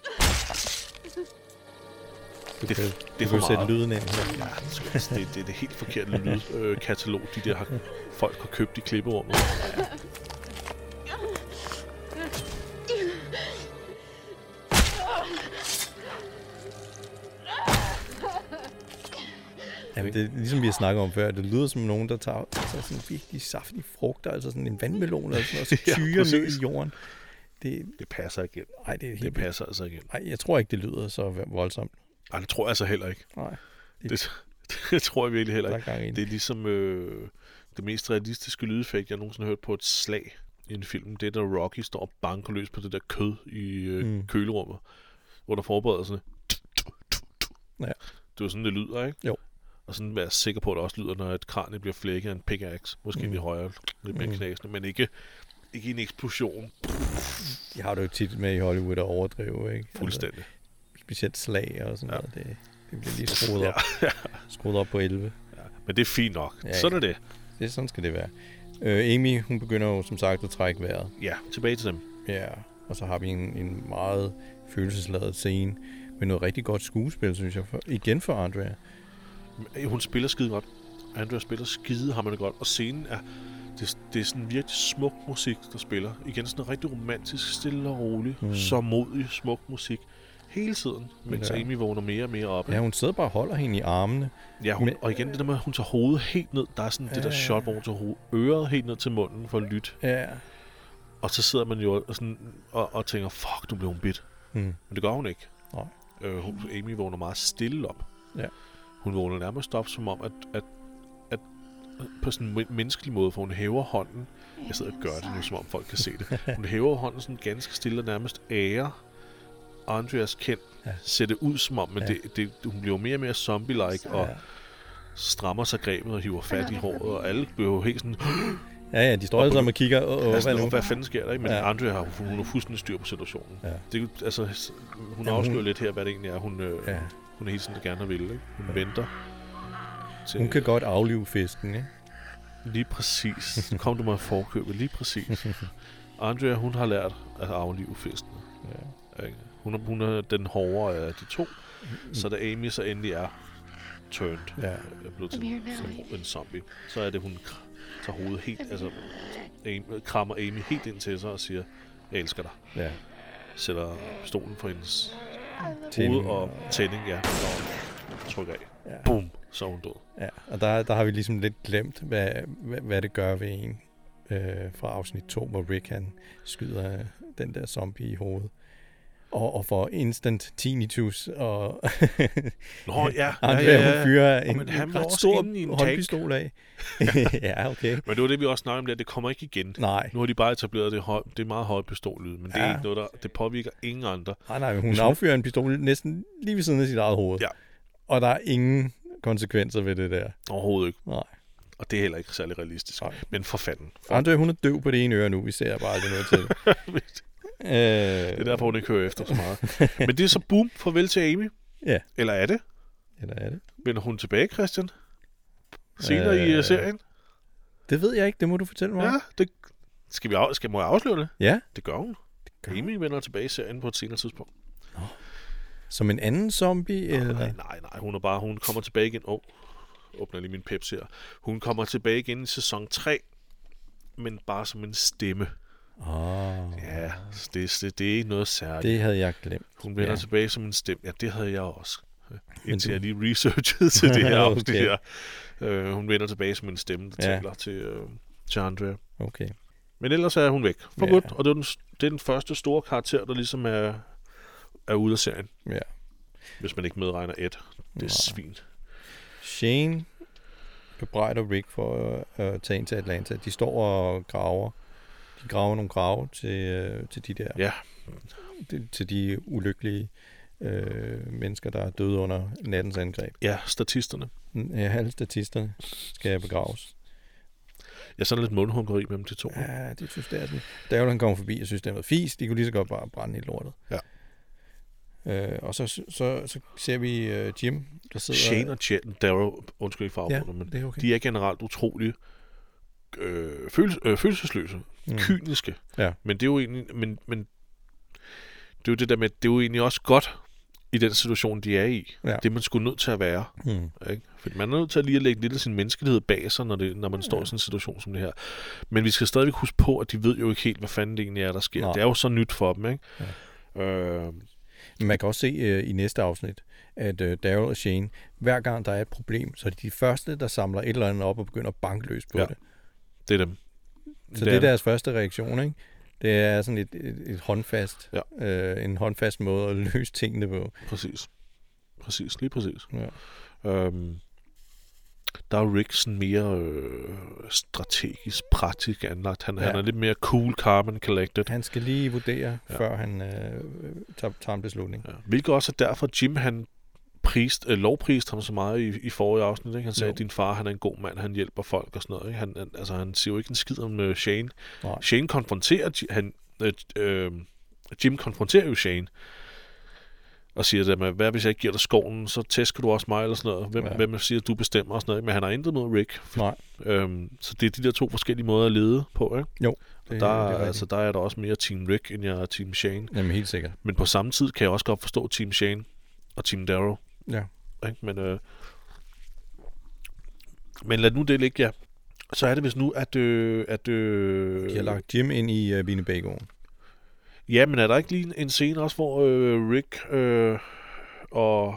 Speaker 2: Du
Speaker 1: Det-
Speaker 2: kan,
Speaker 1: det
Speaker 2: du
Speaker 1: er
Speaker 2: kan
Speaker 1: for
Speaker 2: sætte
Speaker 1: meget.
Speaker 2: lyden ind.
Speaker 1: Ja, det, det, det er det helt forkerte lydkatalog, de der har, folk har købt i klipperummet.
Speaker 2: Ja, det er ligesom vi har snakket om før, det lyder som nogen, der tager altså sådan virkelig saftige frugter, altså sådan en vandmelon eller sådan noget, og så
Speaker 1: Ja,
Speaker 2: tyrer ja, ned
Speaker 1: præcis.
Speaker 2: i jorden. Det,
Speaker 1: Det passer ikke ind.
Speaker 2: ej, det er helt...
Speaker 1: Det
Speaker 2: vildt.
Speaker 1: passer altså ikke ind.
Speaker 2: Ej, jeg tror ikke, det lyder så voldsomt.
Speaker 1: Ej, det tror jeg altså heller ikke.
Speaker 2: Nej,
Speaker 1: Det, det tror jeg virkelig heller
Speaker 2: der
Speaker 1: ikke.
Speaker 2: er gang i
Speaker 1: Det
Speaker 2: det.
Speaker 1: er ligesom øh, det mest realistiske lydeffekt, jeg nogensinde har hørt på et slag i en film. Det er, da Rocky står og banker løs på det der kød i øh,
Speaker 2: Mm.
Speaker 1: mm. kølerummet, hvor der forbereder sådan
Speaker 2: Ja.
Speaker 1: Det er jo sådan, det lyder, ikke?
Speaker 2: Jo.
Speaker 1: Og sådan være sikker på, at det også lyder, når et kranje bliver flækket af en pickaxe. Måske
Speaker 2: Mm.
Speaker 1: mm. lidt højere, lidt mere
Speaker 2: Mm.
Speaker 1: mm. knasende, men ikke, ikke en eksplosion
Speaker 2: De har det jo tit med i Hollywood at overdrive, ikke?
Speaker 1: fuldstændig.
Speaker 2: Altså, specielt slag og sådan ja.
Speaker 1: Ja.
Speaker 2: noget. Det, det bliver lige skruet
Speaker 1: Ja.
Speaker 2: op, skruet op på 11.
Speaker 1: Ja. Men det er fint nok.
Speaker 2: Ja,
Speaker 1: Ja, sådan er det.
Speaker 2: Det, sådan skal det være. Øh, Amy, hun begynder jo som sagt at trække vejret.
Speaker 1: Ja, tilbage til dem.
Speaker 2: Ja, og så har vi en, en meget følelsesladet scene med noget rigtig godt skuespil, synes jeg. For, igen for Andrea.
Speaker 1: Øh, Hun spiller skide godt. Andrea spiller skide hammerne godt. Og scenen er... Det, det er sådan virkelig smuk musik, der spiller. Igen sådan rigtig romantisk, stille og rolig.
Speaker 2: Mm.
Speaker 1: Mm. Så modig, smuk musik. Hele tiden, mens
Speaker 2: Ja.
Speaker 1: ja. Amy vågner mere og mere op.
Speaker 2: Ja,
Speaker 1: Ja,
Speaker 2: hun sidder bare og holder hende i armene.
Speaker 1: ja hun,
Speaker 2: men-
Speaker 1: og igen det der med, at hun tager hovedet helt ned. Der er sådan ja. det der
Speaker 2: Ja.
Speaker 1: shot, hvor hun tager hovedet, øret helt ned til munden for at lytte.
Speaker 2: Ja.
Speaker 1: Og så sidder man jo og, sådan, og, og tænker, fuck, nu blev hun bidt.
Speaker 2: Mm.
Speaker 1: Men det gør hun ikke.
Speaker 2: Nej.
Speaker 1: Øh, hun, Amy vågner meget stille op.
Speaker 2: Ja.
Speaker 1: Hun vågner nærmest op, som om, at, at, at på sådan en men- menneskelig måde, for hun hæver hånden. Jeg sidder og gør det nu, som om folk kan se det. Hun hæver hånden sådan ganske stille og nærmest ære Andreas kend.
Speaker 2: Ja.
Speaker 1: Ja. Ser det ud som om, men
Speaker 2: Ja.
Speaker 1: ja. det, det, hun bliver jo mere og mere zombie-like, og
Speaker 2: Ja.
Speaker 1: strammer sig grebet og hiver fat i håret, og alle bliver jo helt sådan,
Speaker 2: ja, ja, de står alle sammen og kigger. Åh, åh,
Speaker 1: altså,
Speaker 2: hvad
Speaker 1: hvad,
Speaker 2: nu?
Speaker 1: hvad fanden sker der? Ikke? Men
Speaker 2: Ja.
Speaker 1: ja. Andrea har, hun, hun har fuldstændig styr på situationen.
Speaker 2: Ja.
Speaker 1: Det, er jo- altså, s- hun
Speaker 2: Ja, hun-
Speaker 1: afslører lidt her, hvad det egentlig er, hun, øh,
Speaker 2: Ja.
Speaker 1: ja. hun hele tiden gerne vil. Ikke? Hun ja. venter. Til,
Speaker 2: Hun kan godt aflive fisken, ikke?
Speaker 1: Lige præcis. Nu kom du mig i forkøbet. Lige præcis. Andrea, hun har lært at aflive fiskene.
Speaker 2: Ja.
Speaker 1: Ikke? Hun, er, hun er den hårdere af de to. Så da Amy så endelig er turned,
Speaker 2: Ja.
Speaker 1: er blevet til
Speaker 4: I'm here now,
Speaker 1: som en zombie, så er det, hun kr- tager hovedet helt, altså Amy, krammer Amy helt ind til sig og siger, jeg elsker dig.
Speaker 2: ja.
Speaker 1: sætter pistolen på hendes
Speaker 2: Tænding
Speaker 1: hoved og tænding, ja, og trykker af.
Speaker 2: Ja.
Speaker 1: Ja. Boom, så er hun død.
Speaker 2: ja. Og der, der har vi ligesom lidt glemt, hvad, hvad, hvad det gør ved en øh, fra afsnit 2, hvor Rick han skyder øh, den der zombie i hovedet. og, og får instant tinnitus, og
Speaker 1: Nå, ja. ja,
Speaker 2: Andrea,
Speaker 1: ja,
Speaker 2: hun
Speaker 1: ja.
Speaker 2: fyrer
Speaker 1: Og
Speaker 2: en,
Speaker 1: men han
Speaker 2: en
Speaker 1: var
Speaker 2: ret
Speaker 1: også
Speaker 2: stor
Speaker 1: inde i en tank.
Speaker 2: håndpistol af. ja, okay.
Speaker 1: Men det var det, vi også snakkede om, der. det kommer ikke igen.
Speaker 2: Nej.
Speaker 1: Nu har de bare etableret det, høj, det er meget høje pistollyd, men det er
Speaker 2: Ja.
Speaker 1: ikke noget, der det påvirker ingen andre.
Speaker 2: Nej, nej, hun affyrer en pistol næsten lige ved siden af sit eget hoved.
Speaker 1: Ja.
Speaker 2: Og der er ingen konsekvenser ved det der.
Speaker 1: Overhovedet ikke.
Speaker 2: Nej.
Speaker 1: Og det er heller ikke særlig realistisk.
Speaker 2: Nej.
Speaker 1: Men for fanden.
Speaker 2: Andre, hun er døv på det ene øre nu. Vi ser bare aldrig noget til. det. øh,
Speaker 1: Det er derfor, hun ikke hører efter så meget. Men det er så boom, farvel til Amy.
Speaker 2: Ja,
Speaker 1: Eller er det?
Speaker 2: eller er det?
Speaker 1: Vender hun tilbage, Christian? Senere øh, i øh,
Speaker 2: Øh,
Speaker 1: serien?
Speaker 2: Det ved jeg ikke. Det må du fortælle mig. om.
Speaker 1: Ja, det, skal, vi af, skal må jeg afsløre det?
Speaker 2: ja.
Speaker 1: Det gør hun.
Speaker 2: gør
Speaker 1: Amy vender tilbage i serien på et senere tidspunkt.
Speaker 2: Som en anden zombie? eller?
Speaker 1: Nej, nej, nej. Hun er bare, hun kommer tilbage igen. Åh, oh, åbner lige min peps her. Hun kommer tilbage igen i sæson 3, men bare som en stemme.
Speaker 2: Oh,
Speaker 1: Ja, så det, det, det er ikke noget særligt.
Speaker 2: det havde jeg glemt.
Speaker 1: Hun vender ja.
Speaker 2: Ja.
Speaker 1: tilbage som en stemme. Ja, det havde jeg også. øh, Indtil
Speaker 2: du-
Speaker 1: jeg lige researchede til det her
Speaker 2: Okay.
Speaker 1: afsnit her. Øh, hun vender tilbage som en stemme, der ja.
Speaker 2: Ja.
Speaker 1: taler til, øh, til Andrea.
Speaker 2: Okay.
Speaker 1: Men ellers er hun væk for ja.
Speaker 2: Ja.
Speaker 1: godt, og det er, den, det er den første store karakter, der ligesom er, er ude af serien,
Speaker 2: Ja.
Speaker 1: hvis man ikke medregner Ed. Det er
Speaker 2: Nej.
Speaker 1: svin.
Speaker 2: Shane bebrejder Rick for at øh, tage ind til Atlanta. De står og graver. De graver nogle grave til, øh, til de der
Speaker 1: Ja,
Speaker 2: til- til de ulykkelige øh, mennesker, der er døde under nattens angreb.
Speaker 1: ja, statisterne.
Speaker 2: Mm, Ja, alle statisterne skal begraves.
Speaker 1: Jeg er sådan lidt mundhungrig mellem de to. Ja.
Speaker 2: Ja, det synes jeg er sådan. Da han kommer forbi, jeg synes, det er noget fis. De kunne lige så godt bare brænde i lortet.
Speaker 1: Ja.
Speaker 2: Øh, og så, så, så ser vi øh, Jim, der sidder...
Speaker 1: Shane og Jen, Darrow, undskyld ikke for
Speaker 2: Ja,
Speaker 1: afbrudet, men
Speaker 2: det er okay.
Speaker 1: de er generelt utrolig øh, føles, øh, følelsesløse, mm. kyniske.
Speaker 2: Ja.
Speaker 1: Men det er jo egentlig, men, men det er jo det der med, det er jo egentlig også godt i den situation, de er i.
Speaker 2: Ja.
Speaker 1: Det er man skulle nødt til at være.
Speaker 2: Hmm.
Speaker 1: Ikke? For man er nødt til at lige at lægge lidt af sin menneskelighed bag sig, når, det, når man står i sådan en situation som det her. Men vi skal stadigvæk huske på, at de ved jo ikke helt, hvad fanden det egentlig er, der sker.
Speaker 2: Nej.
Speaker 1: Det er jo så nyt for dem, ikke? Ja. Øh,
Speaker 2: Men Man kan også se øh, i næste afsnit, at øh, Daryl og Shane, hver gang der er et problem, så er de de første, der samler et eller andet op og begynder at banke løs på
Speaker 1: Ja.
Speaker 2: ja. det.
Speaker 1: det er dem.
Speaker 2: Så det er deres første reaktion, ikke? Det er sådan et, et, et håndfast,
Speaker 1: Ja.
Speaker 2: øh, en håndfast måde at løse tingene på.
Speaker 1: Præcis. Præcis, lige præcis.
Speaker 2: Ja.
Speaker 1: Øhm, der er Rick sådan mere øh, strategisk, praktisk anlagt. Han, ja. han
Speaker 2: Ja.
Speaker 1: er lidt mere cool, calm and collected.
Speaker 2: Han skal lige vurdere, ja. før han øh, tager, tager en beslutning.
Speaker 1: Ja. Hvilket også er derfor, Jim han prist, øh, lovprist ham så meget i, i forrige afsnit. Ikke? Han sagde,
Speaker 2: Jo.
Speaker 1: at din far han er en god mand, han hjælper folk og sådan noget. Ikke? Han, han, altså, han siger jo ikke en skid om øh, Shane.
Speaker 2: Nej.
Speaker 1: Shane konfronterer... Ji- Han, øh, øh, Jim konfronterer jo Shane og siger det med, hvad hvis jeg ikke giver dig skoven, så tæsker du også mig eller sådan noget. Hvem, ja.
Speaker 2: Ja.
Speaker 1: hvem siger, at du bestemmer og sådan noget. ikke? Men han har intet mod Rick.
Speaker 2: Nej.
Speaker 1: Øhm, så det er de der to forskellige måder at lede på. Ikke?
Speaker 2: Jo,
Speaker 1: Det,
Speaker 2: det,
Speaker 1: der,
Speaker 2: det er
Speaker 1: er
Speaker 2: rigtigt.
Speaker 1: altså, der er der også mere Team Rick, end jeg er Team Shane.
Speaker 2: Jamen helt sikkert.
Speaker 1: Men på samme tid kan jeg også godt forstå Team Shane og Team Darrow.
Speaker 2: Ja.
Speaker 1: Ikke? Men, øh, men lad nu det ligge, ja. Så er det hvis nu, at... Øh, at øh,
Speaker 2: De har lagt Jim ind i øh, Vinebagården.
Speaker 1: Ja, men er der ikke lige en- en scene også, hvor øh, Rick øh, og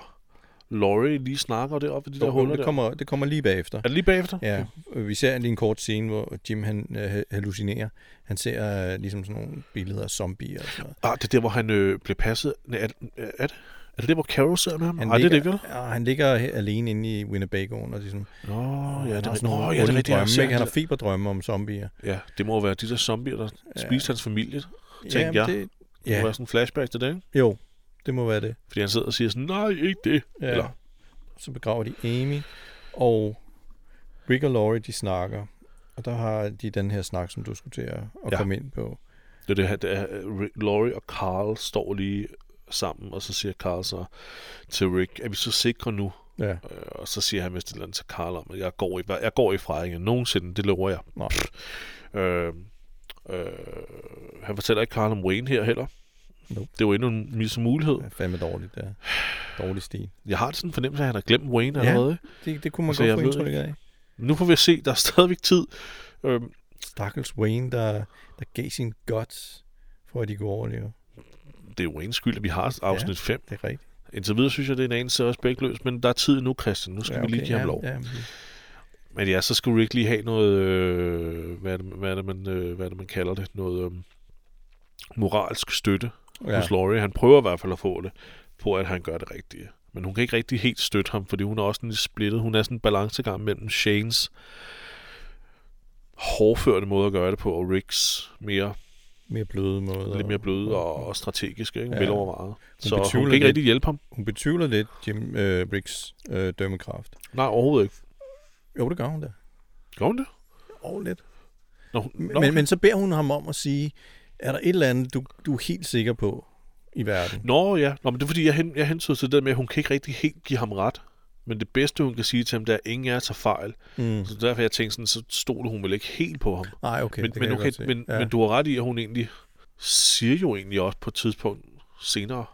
Speaker 1: Laurie lige snakker deroppe i de der huller
Speaker 2: Det
Speaker 1: der?
Speaker 2: kommer, det kommer lige bagefter.
Speaker 1: Er det lige bagefter?
Speaker 2: Ja, øh, vi ser lige en kort scene, hvor Jim han øh, hallucinerer. Han ser øh, ligesom sådan nogle billeder af zombier og sådan noget.
Speaker 1: Ah, det er der, hvor han øh, bliver passet. Nej, er, det- er, det, er det der, hvor Carol sidder med ham?
Speaker 2: Han
Speaker 1: Nej, det er det ikke,
Speaker 2: ligger,
Speaker 1: vel?
Speaker 2: Ja, han ligger he- alene inde i Winnebagoen, og ligesom,
Speaker 1: Nå, ja, det
Speaker 2: han
Speaker 1: er
Speaker 2: har
Speaker 1: rigtigt.
Speaker 2: sådan nogle
Speaker 1: Nå,
Speaker 2: oh,
Speaker 1: ja, det er rigtigt. jeg
Speaker 2: drømme,
Speaker 1: ser
Speaker 2: ikke? Han har
Speaker 1: det.
Speaker 2: feberdrømme om zombier.
Speaker 1: Ja, det må jo være de der zombier, der ja. spiste hans familie. Tænkte
Speaker 2: Jamen,
Speaker 1: jeg.
Speaker 2: Det,
Speaker 1: Det ja. må
Speaker 2: ja,
Speaker 1: være sådan en flashback til det, ikke?
Speaker 2: jo, det må være det.
Speaker 1: Fordi han sidder og siger sådan, nej, ikke det.
Speaker 2: Ja.
Speaker 1: Eller,
Speaker 2: Så begraver de Amy, og Rick og Laurie, de snakker. Og der har de den her snak, som du skulle til at, at
Speaker 1: Ja.
Speaker 2: ja. komme ind på.
Speaker 1: det er det her, det er, øh, Rick- Laurie og Carl står lige sammen, og så siger Carl så til Rick, er vi så sikre nu?
Speaker 2: Ja,
Speaker 1: Øh, og så siger han vist et eller andet til Carl om, at jeg går, i, jeg går ifra ikke nogensinde, det lover jeg.
Speaker 2: nej.
Speaker 1: Øh, øh, han fortæller ikke Carl om Wayne her heller.
Speaker 2: Nope.
Speaker 1: Det er jo endnu en mis mulighed.
Speaker 2: Det er fandme dårligt, der. Dårlig stil.
Speaker 1: Jeg har sådan en fornemmelse af, at han har glemt Wayne allerede. Ja.
Speaker 2: Det, det kunne man
Speaker 1: Altså, jeg
Speaker 2: godt få
Speaker 1: ved
Speaker 2: indtryk af.
Speaker 1: Nu får vi at se, der er stadigvæk tid. Øh,
Speaker 2: Stakkels Wayne, der, der gav sin guts for, at de kunne overleve.
Speaker 1: det er Waynes skyld, at vi har afsnit 5.
Speaker 2: Det er rigtigt.
Speaker 1: Indtil videre synes jeg, det er en anelse respektløst, men der er tid nu, Christian. Nu skal ja, okay, vi lige give ham
Speaker 2: ja,
Speaker 1: lov.
Speaker 2: Ja, men-
Speaker 1: Men ja, så skulle Rick lige have noget, øh, hvad, er det, hvad, er det, man, øh, hvad er det, man kalder det, noget øh, øhm, moralsk støtte ja. hos Laurie. Han prøver i hvert fald at få det, på at han gør det rigtige. Men hun kan ikke rigtig helt støtte ham, fordi hun er også sådan lidt splittet. Hun er sådan en balancegang mellem Shanes hårdførte måde at gøre det på, og Ricks mere,
Speaker 2: Mere bløde måder.
Speaker 1: lidt mere bløde og, og strategiske, ikke? Ja.
Speaker 2: Ja.
Speaker 1: velovervejet. Så hun
Speaker 2: betvivler
Speaker 1: kan ikke
Speaker 2: lidt.
Speaker 1: rigtig hjælpe ham.
Speaker 2: Hun betvivler lidt Jim øh, Briggs øh, dømmekraft.
Speaker 1: Nej, overhovedet ikke.
Speaker 2: Jo, det gør hun da.
Speaker 1: Gør hun det?
Speaker 2: Og lidt.
Speaker 1: Nå, hun,
Speaker 2: Men,
Speaker 1: nå,
Speaker 2: okay. men så beder hun ham om at sige, er der et eller andet, du, du er helt sikker på i verden?
Speaker 1: Nå ja, Nå, men det er fordi, jeg, hen, jeg hensyder til det der med, at hun kan ikke rigtig helt give ham ret. Men det bedste, hun kan sige til ham, det er, at ingen af jer tager fejl.
Speaker 2: Mm.
Speaker 1: Så derfor jeg tænkte sådan, så stoler hun vel ikke helt på ham.
Speaker 2: Nej, okay.
Speaker 1: men,
Speaker 2: det
Speaker 1: men,
Speaker 2: kan
Speaker 1: okay,
Speaker 2: jeg godt se.
Speaker 1: men, ja. men du har ret i, at hun egentlig siger jo egentlig også på et tidspunkt senere,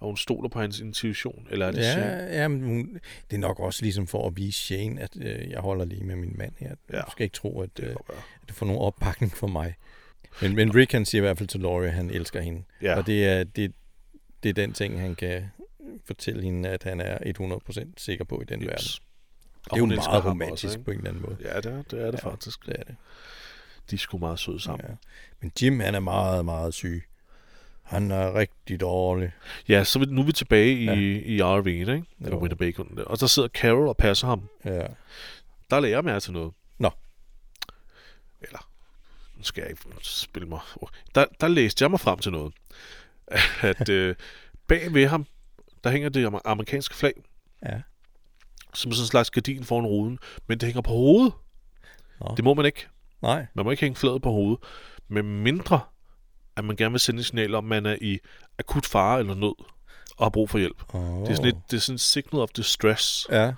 Speaker 1: at hun stoler på hans intuition. Eller er det Shane?
Speaker 2: Ja, ja men hun, det er nok også ligesom for at vise Shane, at øh, jeg holder lige med min mand her.
Speaker 1: Ja.
Speaker 2: Ja. Du skal ikke tro, at, øh,
Speaker 1: godt være.
Speaker 2: at du får nogen opbakning fra mig. Men, men Rick, han siger i hvert fald til Laurie, at han elsker hende.
Speaker 1: Ja.
Speaker 2: Og det er, det, det er den ting, han kan fortælle hende, at han er 100% sikker på i den yes. verden.
Speaker 1: Yes.
Speaker 2: Det
Speaker 1: Og
Speaker 2: er jo
Speaker 1: hun elsker
Speaker 2: meget
Speaker 1: ham
Speaker 2: romantisk
Speaker 1: også,
Speaker 2: også,
Speaker 1: ikke?
Speaker 2: på en eller anden måde.
Speaker 1: Ja, det er det, er det ja. faktisk.
Speaker 2: Det er det.
Speaker 1: De er sgu meget søde sammen.
Speaker 2: Ja. Men Jim, han er meget, meget syg. Han er rigtig dårlig.
Speaker 1: Ja, ja så er vi- nu er vi tilbage i, ja.
Speaker 2: Ja.
Speaker 1: i RV'en, ikke? Eller
Speaker 2: Jo.
Speaker 1: Winnebagoen. Og så sidder Carol og passer ham.
Speaker 2: Ja.
Speaker 1: Der lagde jeg mærke til noget.
Speaker 2: Nå.
Speaker 1: Eller, nu skal jeg ikke spille mig. Der, der læste jeg mig frem til noget. At øh, bag ved ham, der hænger det amer- amerikanske flag,
Speaker 2: Ja.
Speaker 1: som sådan en slags gardin foran ruden, men det hænger på hovedet.
Speaker 2: Nå.
Speaker 1: Det må man ikke.
Speaker 2: Nej.
Speaker 1: Man må ikke hænge flaget på hovedet, med mindre, at man gerne vil sende et signal om, at man er i akut fare eller nød og har brug for hjælp.
Speaker 2: Oh.
Speaker 1: Det er sådan et, det er sådan et signal of distress.
Speaker 2: Ja,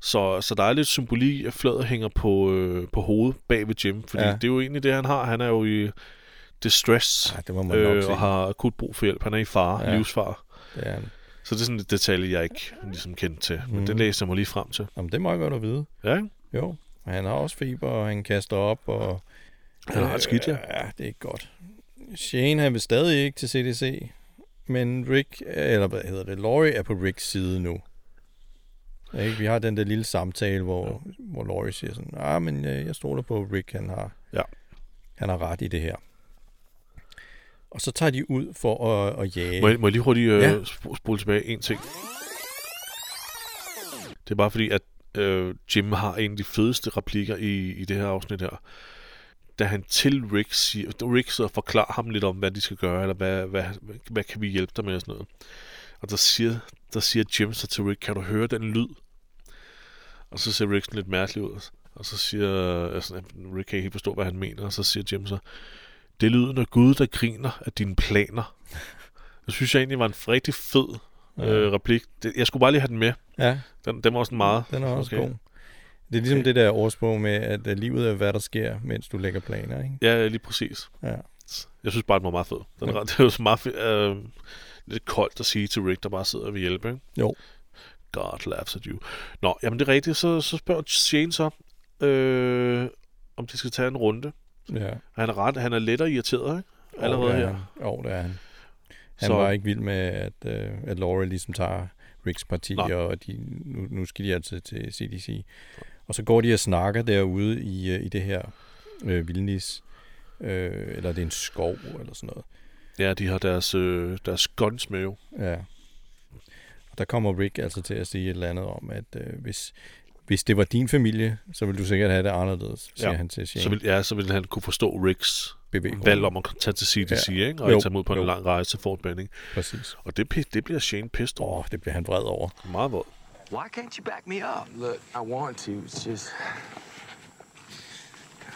Speaker 1: Så, så der er lidt symbolik, i, at flaget hænger på, øh, på hovedet bag ved Jim, fordi ja.
Speaker 2: Ja.
Speaker 1: det er jo egentlig det, han har. Han er jo i distress
Speaker 2: Ej, det må man nok
Speaker 1: øh,
Speaker 2: se.
Speaker 1: og har akut brug for hjælp. Han er i fare, ja.
Speaker 2: Ja.
Speaker 1: livsfare.
Speaker 2: det er han.
Speaker 1: Så det er sådan et detalje, jeg ikke ligesom kendte til, men mm.
Speaker 2: Mhm.
Speaker 1: det læser jeg mig lige frem til.
Speaker 2: Jamen, det må jeg godt at vide.
Speaker 1: Ja, ikke?
Speaker 2: Jo, og han har også fiber, og han kaster op, og... Øh,
Speaker 1: Han har et skidt, ja.
Speaker 2: Ja, det er ikke godt. Shane, han vil stadig ikke til CDC, men Rick, eller hvad hedder det, Laurie er på Ricks side nu. Ikke? Vi har den der lille samtale, hvor, ja. hvor Laurie siger sådan, ah, men øh, jeg stoler på at Rick, han har,
Speaker 1: Ja.
Speaker 2: han har ret i det her. Og så tager de ud for at, at jage.
Speaker 1: Må jeg, må jeg lige hurtigt øh,
Speaker 2: Ja.
Speaker 1: ja. spole tilbage en ting? Det er bare fordi, at øh, Jim har en af de fedeste replikker i, i det her afsnit her. Da han til Rick siger, Rick sidder og forklarer ham lidt om, hvad de skal gøre, eller hvad, hvad, hvad kan vi hjælpe dig med og sådan noget. Og der siger, der siger Jim så til Rick, kan du høre den lyd? Og så ser Rick sådan lidt mærkelig ud. Og så siger, altså, Rick kan ikke helt forstå, hvad han mener, og så siger Jim så, det er lyden af Gud, der griner af dine planer. Det synes jeg egentlig var en rigtig fed øh, replik. Det, jeg skulle bare lige have den med.
Speaker 2: Ja,
Speaker 1: Den, den var sådan meget...
Speaker 2: den er også
Speaker 1: okay.
Speaker 2: god. Det er ligesom det der ordsprog med, at øh, livet er, hvad der sker, mens du lægger planer, ikke?
Speaker 1: Ja, lige præcis.
Speaker 2: Ja.
Speaker 1: Jeg synes bare, den var meget fed. Den, ja. Det var så meget fed, øh, lidt koldt at sige til Rick, der bare sidder og vil hjælpe. Ikke?
Speaker 2: Jo.
Speaker 1: God laughs at you. Nå, jamen det er rigtigt. Så, så spørger Shane så, øh, om de skal tage en runde.
Speaker 2: Ja.
Speaker 1: Han er, ret, han er lettere irriteret, ikke? Allerede
Speaker 2: jo, det er
Speaker 1: her.
Speaker 2: Han. Jo, det er han. Han
Speaker 1: Så-
Speaker 2: så... var ikke vild med, at, øh, at Laurie ligesom tager Ricks parti,
Speaker 1: Nej.
Speaker 2: og de, nu, nu skal de altså til CDC. Og så går de og snakker derude i, øh, i det her øh, vildnis, øh, eller det er en skov, eller sådan noget.
Speaker 1: Ja, de har deres, øh, deres guns med jo.
Speaker 2: Ja. Og der kommer Rick altså til at sige et eller andet om, at øh, hvis, hvis det var din familie, så ville du sikkert have det anderledes, siger
Speaker 1: Ja.
Speaker 2: han til Shane.
Speaker 1: Så vil, ja, så vil han kunne forstå Ricks
Speaker 2: Bevæggrund.
Speaker 1: valg om at tage til CDC, ja. ikke? Og
Speaker 2: Jo,
Speaker 1: ikke tage mod på en
Speaker 2: jo.
Speaker 1: lang rejse til Fort Benning.
Speaker 2: Præcis.
Speaker 1: Og det, pi- det bliver Shane pissed over.
Speaker 2: Åh, oh, det bliver han vred over.
Speaker 1: Meget vold.
Speaker 3: Why can't you back me up? Look, I want to. It's just.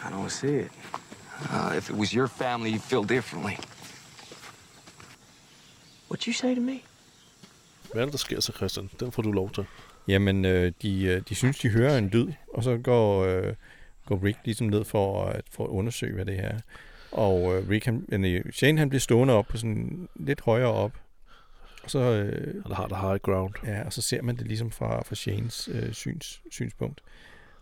Speaker 3: I don't see it. Uh, if it was your family, you'd feel differently.
Speaker 4: What'd you say to me?
Speaker 1: Hvad er det, der sker så, Christian? Den får du lov til.
Speaker 2: Jamen, øh, de, øh, de synes, de hører en lyd, og så går, øh, går Rick ligesom ned for at, for at undersøge, hvad det er. Og øh, Rick, han, nej, Shane han bliver stående op på sådan lidt højere op, og så, øh,
Speaker 1: Han har det high ground.
Speaker 2: ja, og så ser man det ligesom fra, fra Shanes øh, syns, synspunkt.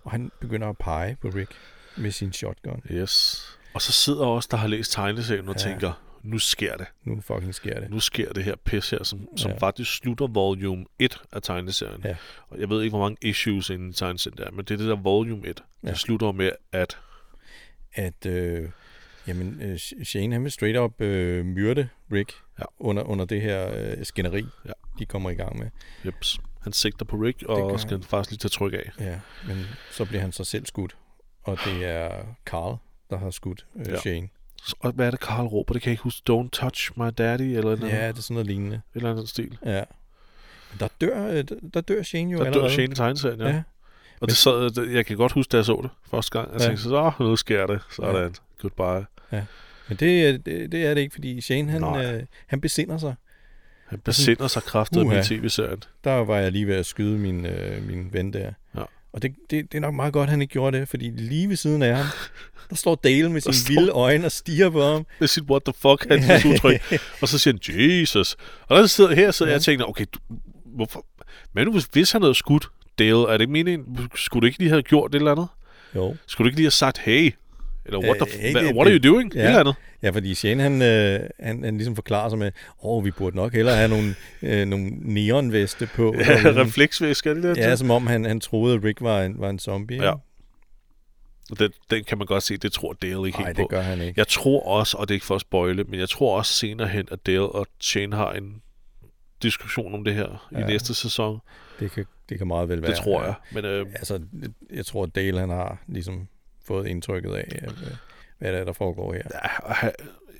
Speaker 2: Og han begynder at pege på Rick med sin shotgun.
Speaker 1: Yes. Og så sidder også der har læst tegneserien og ja. tænker, nu sker det.
Speaker 2: Nu fucking sker det.
Speaker 1: Nu sker det her pis her, som, som ja.
Speaker 2: Ja.
Speaker 1: faktisk slutter volume 1 af tegneserien.
Speaker 2: Ja.
Speaker 1: Og jeg ved ikke, hvor mange issues inden i tegneserien der er, men det er det der volume 1. Ja.
Speaker 2: Ja.
Speaker 1: Det slutter med, at
Speaker 2: At øh, Jamen, øh, Shane, han vil straight up øh, myrde Rick
Speaker 1: Ja.
Speaker 2: ja. under, under det her øh, skænderi,
Speaker 1: Ja.
Speaker 2: ja. de kommer i gang med.
Speaker 1: Jeps. Han sigter på Rick,
Speaker 2: gør
Speaker 1: og skal
Speaker 2: han.
Speaker 1: faktisk lige tage tryk af.
Speaker 2: Ja, men så bliver han så selv skudt, og det er Carl, der har skudt øh,
Speaker 1: Ja.
Speaker 2: ja. Shane.
Speaker 1: Så- Og hvad er det, Carl råber? Det kan jeg ikke huske. Don't touch my daddy, eller en
Speaker 2: Ja, det er sådan noget lignende.
Speaker 1: eller anden stil.
Speaker 2: Ja. Men Der dør, øh, der- der dør Shane jo
Speaker 1: Der dør
Speaker 2: allerede.
Speaker 1: Shane i tegneserien, ja.
Speaker 2: ja.
Speaker 1: ja. Og det sad, det- jeg kan godt huske, da jeg så det første gang. Jeg
Speaker 2: Ja.
Speaker 1: tænkte, så nu sker det. Sådan. Goodbye.
Speaker 2: Men det, er- det, det er det ikke, fordi Shane, han,
Speaker 1: Nej.
Speaker 2: øh, han besinder sig.
Speaker 1: Han besinder sig kraftet med
Speaker 2: Altså- Uha.
Speaker 1: tv-serien.
Speaker 2: Der var jeg lige ved at skyde min, øh, min ven der.
Speaker 1: Ja.
Speaker 2: Og det, det, det er nok meget godt, han ikke gjorde det, fordi lige ved siden af ham, der står Dale med sine
Speaker 1: står-
Speaker 2: vilde øjne og stiger på ham.
Speaker 1: Med sit what the fuck hans udtryk. Og så siger han, Jesus. Og der sidder, her sidder ja. jeg og tænker, okay, du, hvorfor? Men nu, hvis, hvis han havde skudt Dale, er det ikke meningen, skulle du ikke lige have gjort et eller andet?
Speaker 2: Jo.
Speaker 1: Skulle du ikke lige have sagt, hey? Eller what, the,
Speaker 2: Øh,
Speaker 1: f-
Speaker 2: hey,
Speaker 1: hva-
Speaker 2: det-
Speaker 1: what are
Speaker 2: det-
Speaker 1: you doing? Ja. Et
Speaker 2: ja.
Speaker 1: eller andet.
Speaker 2: Ja, fordi Shane, han, øh, han, han ligesom forklarer sig med, åh, oh, vi burde nok hellere have nogle, øh, nogle neonveste på.
Speaker 1: Ja, refleksvæsk, er det det?
Speaker 2: ja, som om han, han troede, at Rick var en, var en zombie. ikke?
Speaker 1: Ja. Og Den, den kan man godt se, det tror Dale ikke
Speaker 2: Nej,
Speaker 1: helt på.
Speaker 2: det gør han ikke.
Speaker 1: Jeg tror også, og det er ikke for at spoile, men jeg tror også senere hen, at Dale og Shane har en diskussion om det her ja. i
Speaker 2: Ja.
Speaker 1: næste sæson.
Speaker 2: Det kan, det kan meget vel
Speaker 1: Det
Speaker 2: være.
Speaker 1: tror jeg. Men øh,
Speaker 2: Altså, jeg tror, at Dale, han har ligesom fået indtrykket af, at, øh, hvad det er, der foregår her.
Speaker 1: ja, han, ah,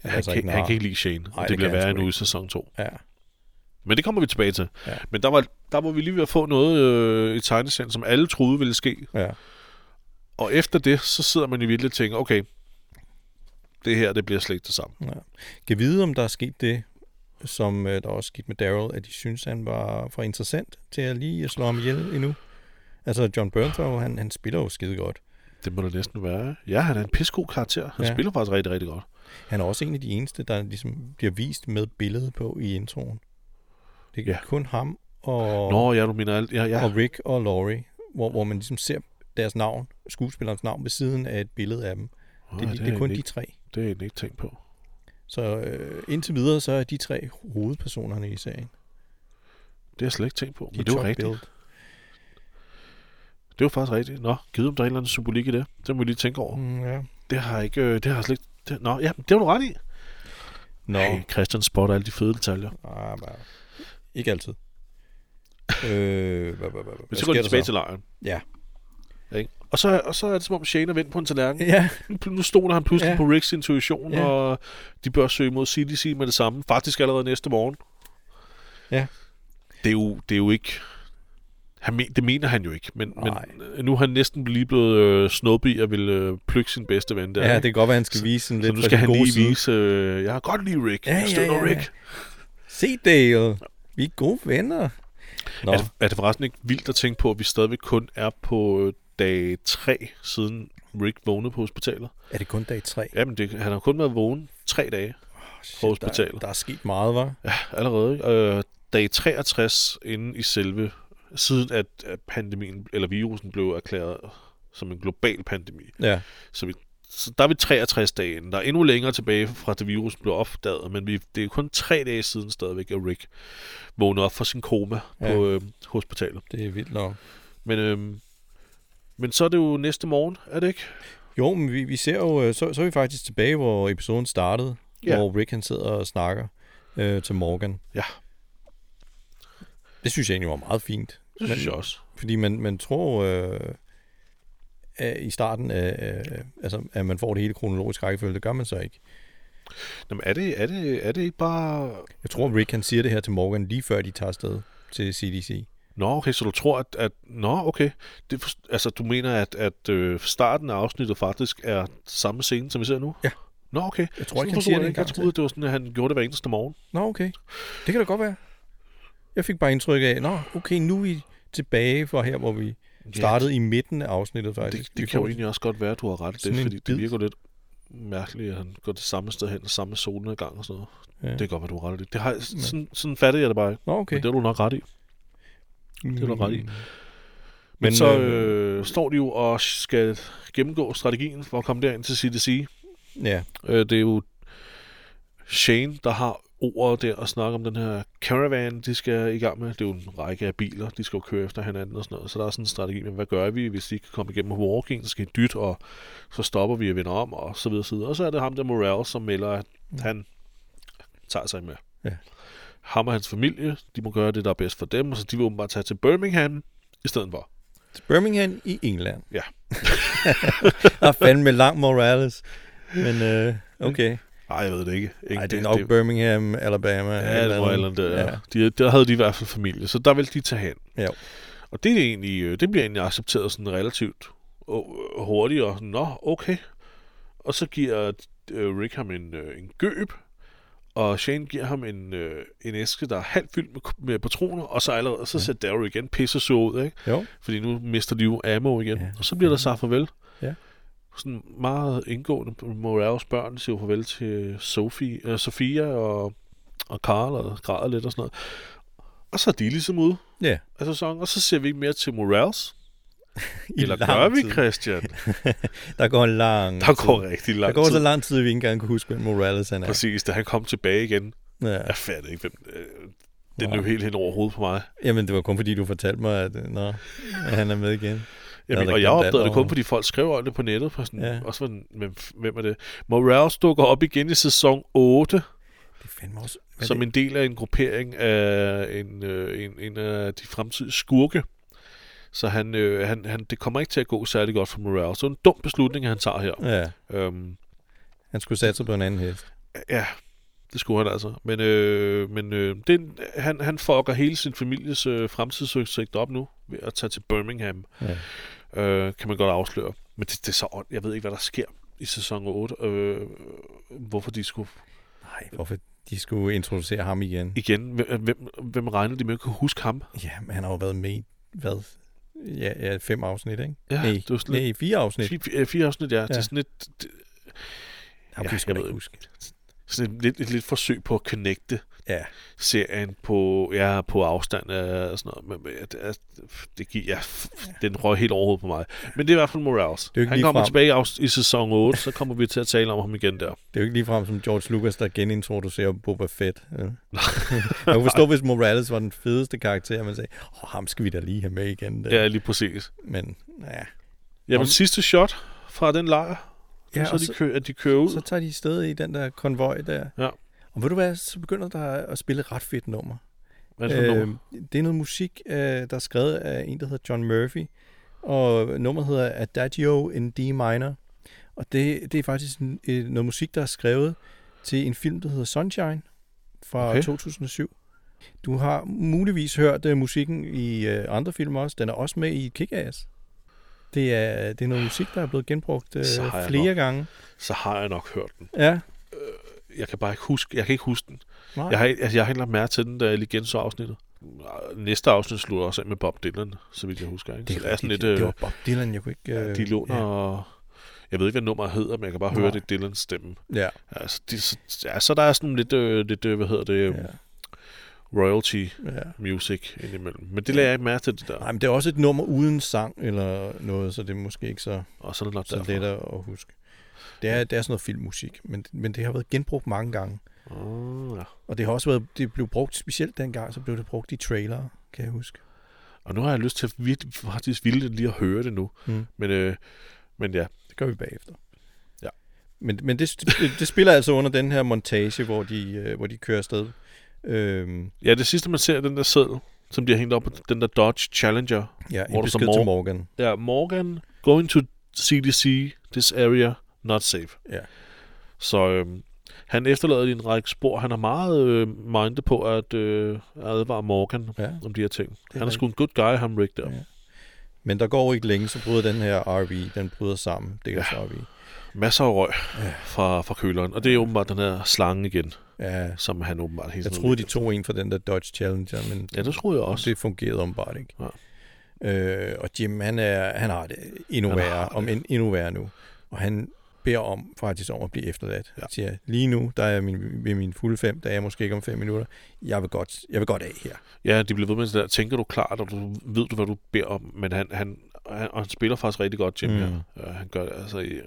Speaker 1: han,
Speaker 2: altså
Speaker 1: kan,
Speaker 2: ikke en
Speaker 1: han
Speaker 2: rar.
Speaker 1: kan ikke lide Shane. Nej,
Speaker 2: Nej,
Speaker 1: det, det
Speaker 2: det
Speaker 1: bliver
Speaker 2: kan han
Speaker 1: værre
Speaker 2: sgu
Speaker 1: endnu i
Speaker 2: ikke.
Speaker 1: sæson 2.
Speaker 2: Ja.
Speaker 1: Men det kommer vi tilbage til.
Speaker 2: Ja.
Speaker 1: Men der var, der var vi lige ved at få noget øh, i tegneserien, som alle troede ville ske.
Speaker 2: ja.
Speaker 1: Og efter det, så sidder man i virkelig og tænker, okay, det her, det bliver slet ikke det samme.
Speaker 2: Ja. Kan vide, om der er sket det, som øh, der også skete med Daryl, at de synes, han var for interessant til at lige at slå ham ihjel endnu. Altså, John Bernthal, han, han spiller jo skide godt.
Speaker 1: Det må det næsten være. Ja, han er en pissegod karakter. Han ja.
Speaker 2: Ja.
Speaker 1: spiller faktisk rigtig, rigtig godt.
Speaker 2: Han er også en af de eneste, der ligesom bliver vist med billede på i introen. Det er
Speaker 1: Ja.
Speaker 2: ja. kun ham og,
Speaker 1: Nå, ja, du mener alt. Ja, ja.
Speaker 2: og Rick og Laurie, hvor, hvor man ligesom ser deres navn, skuespillerens navn ved siden af et billede af dem.
Speaker 1: Nå,
Speaker 2: Det,
Speaker 1: ja,
Speaker 2: det,
Speaker 1: har
Speaker 2: det er
Speaker 1: jeg
Speaker 2: kun
Speaker 1: ikke-
Speaker 2: de tre.
Speaker 1: Det har jeg egentlig ikke tænkt på.
Speaker 2: Så øh, indtil videre, så er de tre hovedpersonerne i serien.
Speaker 1: Det har jeg slet ikke tænkt på.
Speaker 2: De
Speaker 1: Men det er jo
Speaker 2: top
Speaker 1: rigtigt.
Speaker 2: billed.
Speaker 1: Det er jo faktisk rigtigt. Nå, givet om der er en eller anden symbolik i det. Det må vi lige tænke over. Mm.
Speaker 2: Mm, ja.
Speaker 1: Det har jeg ikke... Øh, det har jeg slet ikke... Det, nå, ja, det har du ret i.
Speaker 2: Nå,
Speaker 1: Hey, Christian spotter alle de fede detaljer.
Speaker 2: Ah, men, ikke altid. øh, hvad, hvad, hvad,
Speaker 1: Men
Speaker 2: hvad
Speaker 1: så går de
Speaker 2: sker der
Speaker 1: tilbage
Speaker 2: så?
Speaker 1: til lejren.
Speaker 2: Ja.
Speaker 1: Ikke? Og, så, og så er det som om Shane er vendt på en tallerken.
Speaker 2: Ja,
Speaker 1: Nu- Nu stoler han pludselig ja.
Speaker 2: Ja.
Speaker 1: på Ricks intuition, ja.
Speaker 2: Ja.
Speaker 1: og de bør søge mod CDC med det samme. Faktisk allerede næste morgen.
Speaker 2: Ja.
Speaker 1: Det er jo, det er jo ikke... Han men, det mener han jo ikke, men, men
Speaker 2: Nej.
Speaker 1: nu er han næsten lige blevet øh, snobi og vil øh, plukke sin bedste ven der.
Speaker 2: ja, det
Speaker 1: ikke?
Speaker 2: kan godt være, han skal vise sådan
Speaker 1: så
Speaker 2: lidt
Speaker 1: nu
Speaker 2: fra
Speaker 1: skal han
Speaker 2: den gode
Speaker 1: lige
Speaker 2: side.
Speaker 1: vise, øh, jeg har godt lide Rick,
Speaker 2: Ja,
Speaker 1: jeg
Speaker 2: ja,
Speaker 1: støtter
Speaker 2: ja,
Speaker 1: Rick.
Speaker 2: ja. Se Dale, vi er gode venner. Nå,
Speaker 1: Er, det, er det forresten ikke vildt at tænke på, at vi stadigvæk kun er på øh, dag 3, siden Rick vågnede på hospitalet?
Speaker 2: er det kun dag 3?
Speaker 1: Jamen, det, han har kun været vågen tre dage på
Speaker 2: Der,
Speaker 1: hospitalet.
Speaker 2: der er sket meget, var.
Speaker 1: Ja, allerede. ikke? Øh, dag 63 inde i selve, siden at at pandemien, eller virusen blev erklæret som en global pandemi.
Speaker 2: Ja,
Speaker 1: Så, vi, så der er vi 63 dage inde. Der er endnu længere tilbage fra, at virusen blev opdaget, men vi, det er kun tre dage siden stadigvæk, at Rick vågnede op fra sin koma ja.
Speaker 2: Ja.
Speaker 1: på øh, hospitalet.
Speaker 2: det er vildt nok.
Speaker 1: Men, øh, men så er det jo næste morgen, er det ikke?
Speaker 2: Jo, men vi, vi ser jo, øh, så, så er vi faktisk tilbage, hvor episoden startede,
Speaker 1: Ja.
Speaker 2: ja. hvor Rick han sidder og snakker øh, til Morgan.
Speaker 1: Ja.
Speaker 2: Det synes jeg egentlig var meget fint.
Speaker 1: Det synes
Speaker 2: Men-
Speaker 1: jeg også.
Speaker 2: Fordi man, man tror øh, at i starten, af, øh, altså, at man får det hele kronologisk rækkefølge. Det gør man så ikke.
Speaker 1: Jamen, er det, er, det, er det ikke bare...
Speaker 2: Jeg tror, Rick han siger det her til Morgan, lige før de tager afsted til CDC.
Speaker 1: Nå, okay, så du tror, at... at nå, okay. Det, for- altså, du mener, at, at øh, starten af afsnittet faktisk er samme scene, som vi ser nu?
Speaker 2: Ja.
Speaker 1: Nå, okay.
Speaker 2: Jeg tror
Speaker 1: Sådan
Speaker 2: ikke, han
Speaker 1: forstod
Speaker 2: siger
Speaker 1: jeg ikke.
Speaker 2: det
Speaker 1: Jeg
Speaker 2: engang til.
Speaker 1: troede, det var sådan, at han gjorde det hver eneste morgen.
Speaker 2: Nå, okay. Det kan da godt være. Jeg fik bare indtryk af, nå, okay, nu er vi tilbage fra her, hvor vi startede i midten af afsnittet
Speaker 1: Det,
Speaker 2: faktisk.
Speaker 1: det, det kan jo egentlig også godt være, at du har ret i
Speaker 2: sådan
Speaker 1: det,
Speaker 2: en
Speaker 1: fordi det
Speaker 2: bid.
Speaker 1: virker lidt mærkeligt, at han går det samme sted hen, og samme solnedgang og sådan noget.
Speaker 2: Ja.
Speaker 1: Det kan godt være, du har ret i det. det har, jeg- sådan, sådan fatter jeg det bare ikke.
Speaker 2: Nå,
Speaker 1: Okay.
Speaker 2: okay. Mm.
Speaker 1: Men det er du nok ret i.
Speaker 2: det
Speaker 1: er du ret i.
Speaker 2: Men,
Speaker 1: Men, Men så øh, står de jo og skal gennemgå strategien for at komme derind til CDC.
Speaker 2: ja,
Speaker 1: Øh, det er jo Shane, der har ordet der og snakke om den her caravan, de skal i gang med. Det er jo en række af biler, de skal jo køre efter hinanden og sådan noget. Så der er sådan en strategi med, hvad gør vi, hvis de ikke kan komme igennem walking, så skal de dytte, og så stopper vi og vender om, og så videre, så videre. Og så er det ham der Morales, som melder, at han tager sig med.
Speaker 2: Ja.
Speaker 1: Ham og hans familie, de må gøre det, der er bedst for dem, og så de vil åbenbart tage til Birmingham i stedet for.
Speaker 2: Til Birmingham i England.
Speaker 1: Ja.
Speaker 2: Der er fandme lang Morales. Men øh, okay.
Speaker 1: Nej, jeg ved det ikke. ikke
Speaker 2: Ej, det er nok Birmingham, Alabama.
Speaker 1: Ja,
Speaker 2: eller
Speaker 1: det var Island, der.
Speaker 2: Ja.
Speaker 1: Ja. De, der havde de i hvert fald familie, så der ville de tage hen.
Speaker 2: Ja.
Speaker 1: Og det, er egentlig, øh, det bliver egentlig accepteret sådan relativt o- hurtigt, og sådan, nå, okay. Og så giver øh, Rick ham en, øh, en gøb, og Shane giver ham en, øh, en æske, der er halvt fyldt med, med patroner, og så allerede, så ser Daryl igen pisse så ud, ikke?
Speaker 2: Jo.
Speaker 1: Fordi nu mister de jo ammo igen.
Speaker 2: Ja.
Speaker 1: Og så bliver der sagt farvel.
Speaker 2: Ja.
Speaker 1: Sådan meget indgående. Morales børn siger jo farvel til Sophie, øh, Sofia og, og Karl og græder lidt og sådan noget. Og så er de ligesom ude
Speaker 2: Ja.
Speaker 1: af sæsonen, og så ser vi ikke mere til Morales.
Speaker 2: I
Speaker 1: Eller
Speaker 2: lang
Speaker 1: gør vi,
Speaker 2: tid.
Speaker 1: Christian?
Speaker 2: Der går en lang
Speaker 1: Der
Speaker 2: tid.
Speaker 1: går rigtig lang
Speaker 2: Der går
Speaker 1: tid.
Speaker 2: så lang tid, at vi ikke engang kan huske, hvem Morales han er.
Speaker 1: Præcis, da han kom tilbage igen.
Speaker 2: Ja.
Speaker 1: Jeg fatter ikke, hvem... Øh, den
Speaker 2: Nej.
Speaker 1: løb helt hen over hovedet på mig.
Speaker 2: Jamen, det var kun fordi, du fortalte mig, at, øh, nå, at han er med igen.
Speaker 1: Jamen,
Speaker 2: der
Speaker 1: og jeg
Speaker 2: glemt
Speaker 1: opdagede
Speaker 2: alt
Speaker 1: det kun,
Speaker 2: over.
Speaker 1: fordi folk skrev om det på nettet. På sådan,
Speaker 2: Ja.
Speaker 1: ja. Også sådan, hvem, hvem er det? Morales dukker op igen i sæson 8,
Speaker 2: Det er fandme også... Hvad
Speaker 1: som
Speaker 2: er det?
Speaker 1: en del af en gruppering af en, øh, en, en af de fremtidige skurke. Så han, øh, han, han, det kommer ikke til at gå særlig godt for Morales. Så det er en dum beslutning, han tager her.
Speaker 2: Ja,
Speaker 1: Øhm,
Speaker 2: han skulle satse på en anden hest.
Speaker 1: ja, det skulle han altså. Men, øh, men øh, det, er en- han, han fucker hele sin families øh, fremtidsudsigt op nu ved at tage til Birmingham.
Speaker 2: Ja.
Speaker 1: øh, kan man godt afsløre. Men det, det er så ondt. Jeg ved ikke, hvad der sker i sæson 8. Øh, hvorfor de skulle...
Speaker 2: Nej, hvorfor de skulle introducere ham igen?
Speaker 1: Igen, hvem, hvem, hvem regnede de med at kunne huske ham?
Speaker 2: Ja, men han har jo været med i, hvad? Ja, ja fem afsnit, ikke?
Speaker 1: Ja,
Speaker 2: nej,
Speaker 1: det var sådan
Speaker 2: nej, fire afsnit.
Speaker 1: Fire, fire, fire afsnit, ja. ja. Det
Speaker 2: Ja.
Speaker 1: er sådan et, det-
Speaker 2: Han
Speaker 1: Ja,
Speaker 2: kunne sgu
Speaker 1: jeg
Speaker 2: da
Speaker 1: ved
Speaker 2: ikke
Speaker 1: ikke.
Speaker 2: huske.
Speaker 1: sådan et, lidt, et lidt forsøg på at connecte
Speaker 2: Ja,
Speaker 1: serien på, ja, på afstand øh, og sådan noget. Men, men ja, det, er- det gik, ja, f- den røg helt overhovedet på mig. Men det er i hvert fald Morales.
Speaker 2: er jo ikke
Speaker 1: Han kommer
Speaker 2: ligefrem.
Speaker 1: tilbage i, afs- i sæson 8, så kommer vi til at tale om ham igen der.
Speaker 2: det er jo ikke ligefrem som George Lucas, der genintroducerer Boba Fett. Ja. jeg kunne forstå, hvis Morales var den fedeste karakter, man sagde, åh, ham skal vi da lige have med igen.
Speaker 1: Ja, lige præcis.
Speaker 2: Men ja,
Speaker 1: Jamen,
Speaker 2: Om-
Speaker 1: sidste shot fra den lejr.
Speaker 2: Ja,
Speaker 1: Ja, så,
Speaker 2: og
Speaker 1: de
Speaker 2: så-
Speaker 1: kø- at de kører ud.
Speaker 2: så tager de sted i den der konvoj der.
Speaker 1: Ja.
Speaker 2: Og ved du hvad, så begynder der at spille et ret fedt nummer.
Speaker 1: Hvad er det for øh,
Speaker 2: det er noget musik, øh, der er skrevet af en, der hedder John Murphy. Og nummeret hedder Adagio in D minor. Og det, det er faktisk en, øh, noget musik, der er skrevet til en film, der hedder Sunshine fra okay.
Speaker 1: Okay.
Speaker 2: 2007. Du har muligvis hørt øh, musikken i øh, andre film også. Den er også med i Kick-Ass. Det er, det er noget musik, der er blevet genbrugt øh,
Speaker 1: Så har jeg
Speaker 2: flere
Speaker 1: nok.
Speaker 2: gange.
Speaker 1: så har jeg nok hørt den.
Speaker 2: Ja.
Speaker 1: Jeg kan bare ikke huske, jeg kan ikke huske den.
Speaker 2: Nej.
Speaker 1: Jeg har, ikke- altså, jeg har ikke lagt mærke til den, da jeg lige genså afsnittet. Næste afsnit slutter også af med Bob Dylan, så vidt jeg husker. Ikke? så
Speaker 2: Det er, det er sådan lidt,
Speaker 1: øh,
Speaker 2: det var Bob Dylan, jeg kunne ikke... øh,
Speaker 1: de låner... Ja. Jeg ved ikke, hvad nummeret hedder, men jeg kan bare
Speaker 2: Nej.
Speaker 1: høre, det er Dylans stemme.
Speaker 2: Ja. ja.
Speaker 1: Altså, de, så- ja, så der er sådan lidt, øh, lidt øh, hvad hedder det, øh,
Speaker 2: ja.
Speaker 1: royalty
Speaker 2: ja.
Speaker 1: music indimellem. Men det lagde jeg ikke mærke til det der,
Speaker 2: Nej, men det er også et nummer uden sang eller noget, så det er måske ikke så,
Speaker 1: og så er det nok
Speaker 2: så
Speaker 1: derfor.
Speaker 2: let at at huske. Det er, det er sådan noget filmmusik, men, men det har været genbrugt mange gange.
Speaker 1: Oh, ja.
Speaker 2: Og det har også været, det blev brugt specielt dengang, så blev det brugt i trailere, kan jeg huske.
Speaker 1: Og nu har jeg lyst til at virkelig, faktisk ville lige at høre det nu.
Speaker 2: Mm.
Speaker 1: Men, øh, men ja,
Speaker 2: Det gør vi bagefter.
Speaker 1: Ja.
Speaker 2: Men, men det, det, det spiller altså under den her montage, hvor de, øh, hvor de kører afsted. Øhm,
Speaker 1: Ja, det sidste, man ser, er den der seddel, som de har hængt op på den der Dodge Challenger.
Speaker 2: ja,
Speaker 1: Hvor
Speaker 2: en
Speaker 1: der står
Speaker 2: besked til Morgan.
Speaker 1: Ja, Morgan, going to CDC, this area, not safe.
Speaker 2: Ja.
Speaker 1: Så øhm, han efterlader lige en række spor. Han er meget øh, mindet på at øh, advare Morgan
Speaker 2: ja.
Speaker 1: om de her ting. Han er
Speaker 2: rigtigt.
Speaker 1: sgu en good guy, ham Rick der.
Speaker 2: Ja. Men der går ikke længe, så bryder den her RV, den bryder sammen. Det kan ja. RV.
Speaker 1: Masser af røg
Speaker 2: Ja.
Speaker 1: fra, fra køleren. Og det er åbenbart den her slange igen,
Speaker 2: Ja,
Speaker 1: som han åbenbart hele
Speaker 2: Jeg
Speaker 1: tiden-
Speaker 2: troede, de tog en fra den der Dodge Challenger, men
Speaker 1: Ja, det troede jeg også.
Speaker 2: det fungerede åbenbart ikke. Ja. Øh, og Jim, han, er, han har det endnu
Speaker 1: Han har
Speaker 2: værre,
Speaker 1: det.
Speaker 2: om end endnu værre nu. Og han beder om faktisk om at blive efterladt. Ja.
Speaker 1: Ja.
Speaker 2: Siger, lige nu, der er jeg min, ved min fulde fem, der er jeg måske ikke om fem minutter. Jeg vil godt, jeg vil godt af her.
Speaker 1: Ja, de bliver ved med det der, tænker du klart, og du, ved du, hvad du beder om, men han, han, han, og han spiller faktisk rigtig godt, Jim,
Speaker 2: Mm.
Speaker 1: mm. her. Øh, han gør det, altså, i-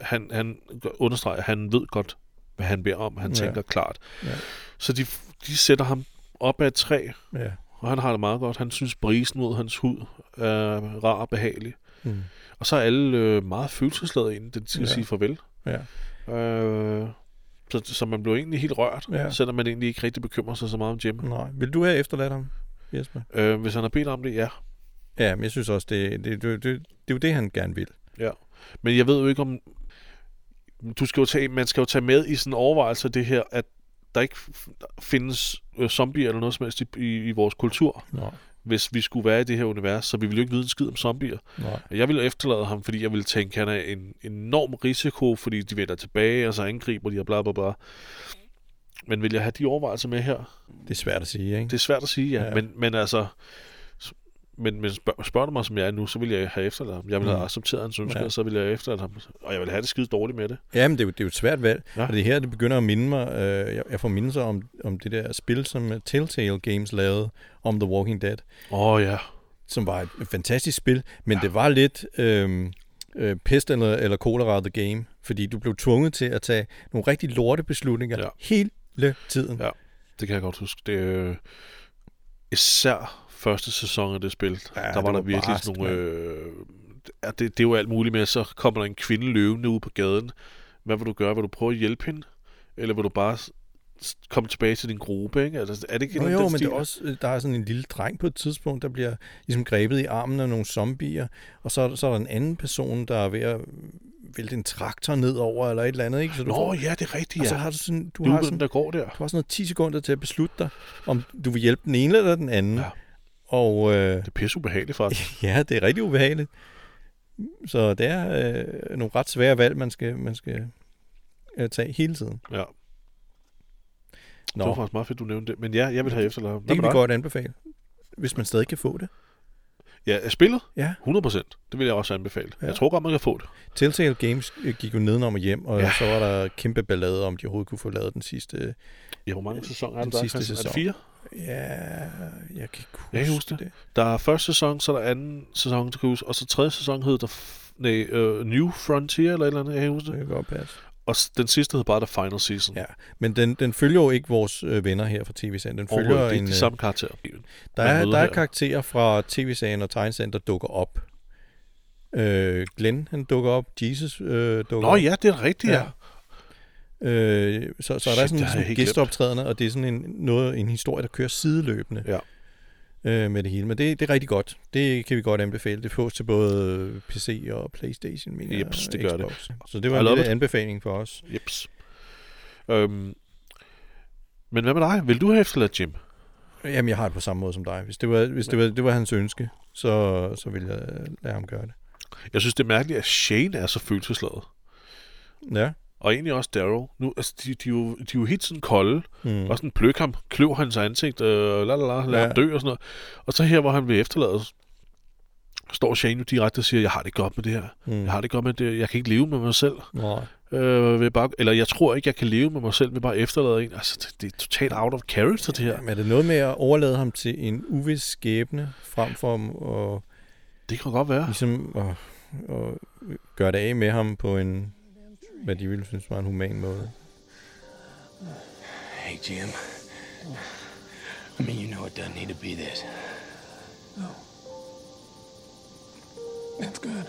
Speaker 1: han, han gør- understreger, at han ved godt, hvad han beder om. Han
Speaker 2: Ja.
Speaker 1: tænker klart.
Speaker 2: Ja.
Speaker 1: Så de, de sætter ham op ad et træ,
Speaker 2: Ja.
Speaker 1: og han har det meget godt. Han synes, brisen mod hans hud er rar og behagelig.
Speaker 2: Mm.
Speaker 1: Og så er alle øh, meget følelsesladet inden den skal ja.
Speaker 2: Ja.
Speaker 1: sige farvel.
Speaker 2: ja.
Speaker 1: Øh, så, så man blev egentlig helt rørt, ja.
Speaker 2: Ja.
Speaker 1: selvom man egentlig ikke rigtig bekymrer sig så meget om Jim.
Speaker 2: Nej. Vil du have efterladt ham, Jesper?
Speaker 1: Øh, hvis han har bedt om det, ja.
Speaker 2: Ja, men jeg synes også, det, det, det, det, det er jo det, han gerne vil.
Speaker 1: ja. Men jeg ved jo ikke om... Du skal jo tage, man skal jo tage med i sådan en overvejelse det her, at der ikke f- findes øh, zombier eller noget som helst i, i, i vores kultur,
Speaker 2: Nej.
Speaker 1: hvis vi skulle være i det her univers, så vi ville jo ikke vide en skid om zombier.
Speaker 2: Nej.
Speaker 1: Jeg ville efterlade ham, fordi jeg ville tænke, at han er en enorm risiko, fordi de vender tilbage, og så angriber de, og bla bla bla. Men vil jeg have de overvejelser med her?
Speaker 2: Det er svært at sige, ikke?
Speaker 1: Det er svært at sige, ja. ja.
Speaker 2: Ja.
Speaker 1: Men, men altså... s- Men, men spørg, spørger du mig, som jeg er nu, så vil jeg have efterladt ham. Jeg vil have
Speaker 2: Mm.
Speaker 1: accepteret hans ønsker, ja.
Speaker 2: Ja.
Speaker 1: og så vil jeg have efterladt ham. Og jeg vil have det skide dårligt med det.
Speaker 2: Jamen, det er, jo, det er jo et svært valg,
Speaker 1: Ja.
Speaker 2: ja. og det er her, det begynder at minde mig, øh, jeg, jeg får mindelser om, om det der spil, som øh, Telltale Games lavede om The Walking Dead,
Speaker 1: Åh oh, ja.
Speaker 2: som var et fantastisk spil, men ja. det var lidt øh, øh, pest eller, eller kolera the game, fordi du blev tvunget til at tage nogle rigtig lorte beslutninger
Speaker 1: Ja.
Speaker 2: ja. hele tiden.
Speaker 1: Ja. Det kan jeg godt huske. Det, øh, især første sæson af det spil, ja, der var,
Speaker 2: det
Speaker 1: der
Speaker 2: var
Speaker 1: virkelig
Speaker 2: barskt,
Speaker 1: sådan nogle... Øh, ja, det, det er jo alt muligt med, så kommer der en kvinde løvende ud på gaden. Hvad vil du gøre? Vil du prøve at hjælpe hende? Eller vil du bare s- s- komme tilbage til din gruppe? Ikke? Altså, er det ikke
Speaker 2: Nå,
Speaker 1: noget
Speaker 2: jo,
Speaker 1: af
Speaker 2: men
Speaker 1: den
Speaker 2: det
Speaker 1: stil?
Speaker 2: er også, øh, der er sådan en lille dreng på et tidspunkt, der bliver ligesom grebet i armen af nogle zombier, og så, er der- så er der en anden person, der er ved at vælte en traktor ned over, eller et eller andet, ikke? Så du
Speaker 1: Nå
Speaker 2: får,
Speaker 1: ja, det er rigtigt, ja.
Speaker 2: og så Altså, har du sådan, du har
Speaker 1: Loopen,
Speaker 2: sådan,
Speaker 1: der går der.
Speaker 2: du har sådan noget 10 sekunder til at beslutte dig, om du vil hjælpe den ene eller den anden.
Speaker 1: Ja.
Speaker 2: Ja. Og øh,
Speaker 1: Det er pisse ubehageligt, faktisk.
Speaker 2: ja, det er rigtig ubehageligt. Så det er øh, nogle ret svære valg, man skal, man skal øh, tage hele tiden.
Speaker 1: Ja,
Speaker 2: Nå,
Speaker 1: det var faktisk meget fedt, du nævnte det. Men ja, jeg vil have efterladt ham.
Speaker 2: det kan vi
Speaker 1: Hvad med
Speaker 2: godt anbefale, hvis man stadig kan få det.
Speaker 1: dig? Ja, er spillet
Speaker 2: Ja.
Speaker 1: 100%. Det vil jeg også anbefale. Ja.
Speaker 2: Ja.
Speaker 1: Jeg tror godt, man kan få det.
Speaker 2: Telltale Games øh, gik jo nedenom og hjem, og
Speaker 1: Ja.
Speaker 2: ja. så var der kæmpe ballade om, de overhovedet kunne få lavet den sidste...
Speaker 1: Ja, hvor mange sæsoner er det,
Speaker 2: Den
Speaker 1: der er,
Speaker 2: sidste
Speaker 1: Christian? Er det
Speaker 2: sæson.
Speaker 1: fire?
Speaker 2: Ja, jeg kan ikke huske,
Speaker 1: Jeg kan huske det. Der er første sæson, så er der anden sæson, du kan huske, og så tredje sæson hed der f- nej, uh, New Frontier, eller et eller andet, jeg kan huske
Speaker 2: Det
Speaker 1: det.
Speaker 2: kan godt passe.
Speaker 1: Og s- den sidste hed bare The Final Season.
Speaker 2: Ja, men den, den følger jo ikke vores øh, venner her fra tv-serien. Den
Speaker 1: Overhovedet,
Speaker 2: følger
Speaker 1: det er
Speaker 2: en...
Speaker 1: ikke
Speaker 2: øh,
Speaker 1: de samme karakterer.
Speaker 2: der
Speaker 1: man
Speaker 2: er,
Speaker 1: møder
Speaker 2: der er
Speaker 1: her.
Speaker 2: karakterer fra tv-serien og tegneserien, der dukker op. Øh, Glenn, han dukker op. Jesus øh, dukker
Speaker 1: Nå
Speaker 2: op.
Speaker 1: ja, det er rigtigt, ja.
Speaker 2: Ja. Øh, så, så
Speaker 1: Shit,
Speaker 2: er der
Speaker 1: det har
Speaker 2: sådan,
Speaker 1: jeg
Speaker 2: sådan
Speaker 1: helt glemt.
Speaker 2: gæsteoptrædende, og det er sådan en, noget, en historie, der kører sideløbende
Speaker 1: Ja.
Speaker 2: øh, med det hele. Men det, det er rigtig godt. Det kan vi godt anbefale. Det fås til både PC og Playstation, mener jeg,
Speaker 1: Jeps,
Speaker 2: og
Speaker 1: det gør det.
Speaker 2: Xbox. Så det var
Speaker 1: I
Speaker 2: en
Speaker 1: love
Speaker 2: lille
Speaker 1: it.
Speaker 2: anbefaling for os.
Speaker 1: Jeps. Øhm, men hvad med dig? Vil du have efterladt Jim?
Speaker 2: Jamen, jeg har det på samme måde som dig. Hvis det var, hvis det var, det var hans ønske, så, så ville jeg lade ham gøre det.
Speaker 1: Jeg synes, det er mærkeligt, at Shane er så følelsesladet.
Speaker 2: Ja.
Speaker 1: Og egentlig også Daryl. Nu, altså, de, de, er jo, de er jo helt sådan kolde. Mm.
Speaker 2: Mm.
Speaker 1: Og sådan pløk ham, kløv hans ansigt, øh, la la la, lad ja.
Speaker 2: Ja.
Speaker 1: ham dø og sådan noget. Og så her, hvor han bliver efterladet, står Shane jo direkte og siger, jeg har det godt med det her. Mm.
Speaker 2: Mm.
Speaker 1: Jeg har det godt med det Jeg kan ikke leve med mig selv.
Speaker 2: Nej.
Speaker 1: Øh, ved bare, eller jeg tror ikke, jeg kan leve med mig selv ved bare at efterlade en. Altså, det, det er totalt out of character, det her.
Speaker 2: Jamen, er det noget med at overlade ham til en uvis skæbne, frem for at
Speaker 1: Det kan godt være.
Speaker 2: ligesom at, at gøre det af med ham på en, hvad de ville synes var en human måde.
Speaker 3: Hey, Jim. I mean, you know it doesn't need to be this.
Speaker 5: No. It's good.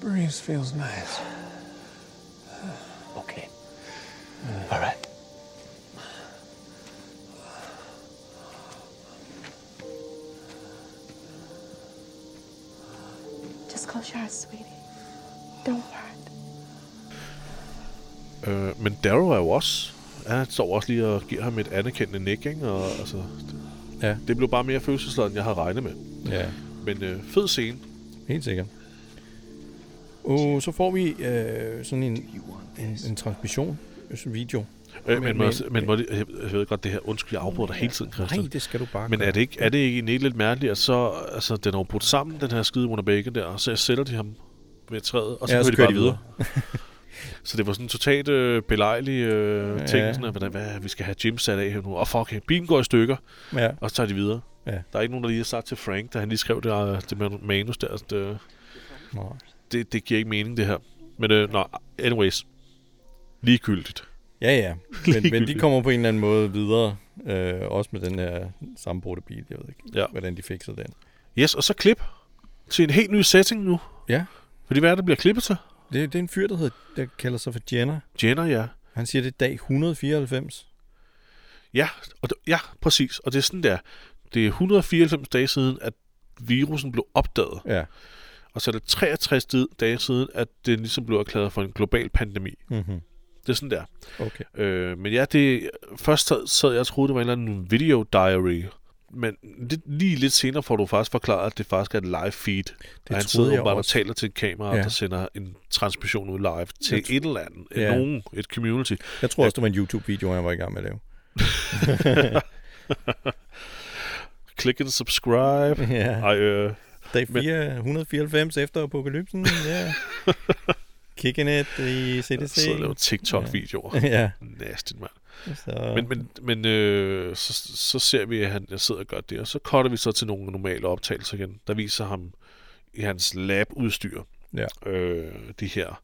Speaker 5: Breeze feels nice.
Speaker 3: Okay. All right.
Speaker 4: Just close your eyes, sweetie. Don't worry.
Speaker 1: Øh, men Daryl er jo også... Han står også lige og giver ham et anerkendende nik, ikke? Og, altså, det,
Speaker 2: Ja,
Speaker 1: det blev bare mere følelsesladet, end jeg havde regnet med.
Speaker 2: ja.
Speaker 1: Men øh, fed scene.
Speaker 2: helt sikkert. Og så får vi øh, sådan en, en, en transmission, øh, sådan en video.
Speaker 1: Øh, men,
Speaker 2: Men-
Speaker 1: men,
Speaker 2: men-
Speaker 1: men må det, jeg jeg ved godt det her, undskyld, jeg afbryder dig hele tiden, Christian.
Speaker 2: Nej, det skal du bare
Speaker 1: Men
Speaker 2: gøre.
Speaker 1: er det ikke, er det ikke egentlig lidt mærkeligt, at så, altså, den er jo brudt sammen, den her skide under bacon der, og så sætter de ham ved træet, og så,
Speaker 2: Ja,
Speaker 1: ja,
Speaker 2: og
Speaker 1: så
Speaker 2: så
Speaker 1: kører
Speaker 2: kører
Speaker 1: de bare
Speaker 2: de
Speaker 1: videre. så det var sådan en totalt øh, belejlig øh, ting,
Speaker 2: Ja.
Speaker 1: sådan, at, hvordan, hvad, vi skal have Jim sat af her nu, og fuck, bilen går i stykker,
Speaker 2: Ja,
Speaker 1: og så tager de videre.
Speaker 2: ja.
Speaker 1: Der er ikke nogen, der lige har sagt til Frank, da han lige skrev det, øh, det man- manus der, at øh,
Speaker 2: Nej.
Speaker 1: det, det giver ikke mening det her. Men øh, nå, anyways, ligegyldigt.
Speaker 2: Ja, ja. Men, men de
Speaker 1: Ligegyldigt.
Speaker 2: kommer på en eller anden måde videre, øh, også med den her sammenbrudte bil. Jeg ved ikke,
Speaker 1: Ja.
Speaker 2: hvordan de fikser den.
Speaker 1: Yes, og så klip til en helt ny setting nu.
Speaker 2: Ja,
Speaker 1: Fordi hvad er det, der bliver klippet til?
Speaker 2: det, det er en fyr, der, hedder, der kalder sig for Jenner.
Speaker 1: Jenner, ja.
Speaker 2: Han siger, det er dag 194.
Speaker 1: Ja, og det, ja, præcis. Og det er sådan der. Det er 194 dage siden, at virusen blev opdaget.
Speaker 2: Ja.
Speaker 1: Og så er det 63 di- dage siden, at det ligesom blev erklæret for en global pandemi.
Speaker 2: Mm-hmm.
Speaker 1: Det er sådan der.
Speaker 2: Okay.
Speaker 1: Øh, men ja, det, først sad- sad jeg og troede, det var en eller anden video diary. Men lidt, lige lidt senere får du faktisk forklaret, at det faktisk er et live feed. Det og han
Speaker 2: troede
Speaker 1: sidder
Speaker 2: jeg
Speaker 1: åbenbart og
Speaker 2: også.
Speaker 1: taler til et kamera, ja.
Speaker 2: Ja.
Speaker 1: der sender en transmission ud live til
Speaker 2: Jeg tro-
Speaker 1: et eller andet. Ja.
Speaker 2: Ja.
Speaker 1: Nogen, et community.
Speaker 2: Jeg tror også, det var en YouTube-video, han var i gang med at lave.
Speaker 1: Click and subscribe.
Speaker 2: ja.
Speaker 1: Ej, øh,
Speaker 2: Dag
Speaker 1: Men-
Speaker 2: 4, 194 efter apokalypsen. Ja. Kicking it i
Speaker 1: jeg
Speaker 2: CDC.
Speaker 1: sidder og laver TikTok-videoer. Ja.
Speaker 2: ja,
Speaker 1: Nasty, mand.
Speaker 2: så...
Speaker 1: Men, men, men øh, så, så ser vi, at han sidder og gør det, og så cutter vi så til nogle normale optagelser igen, der viser ham i hans labudstyr,
Speaker 2: Ja.
Speaker 1: øh, de her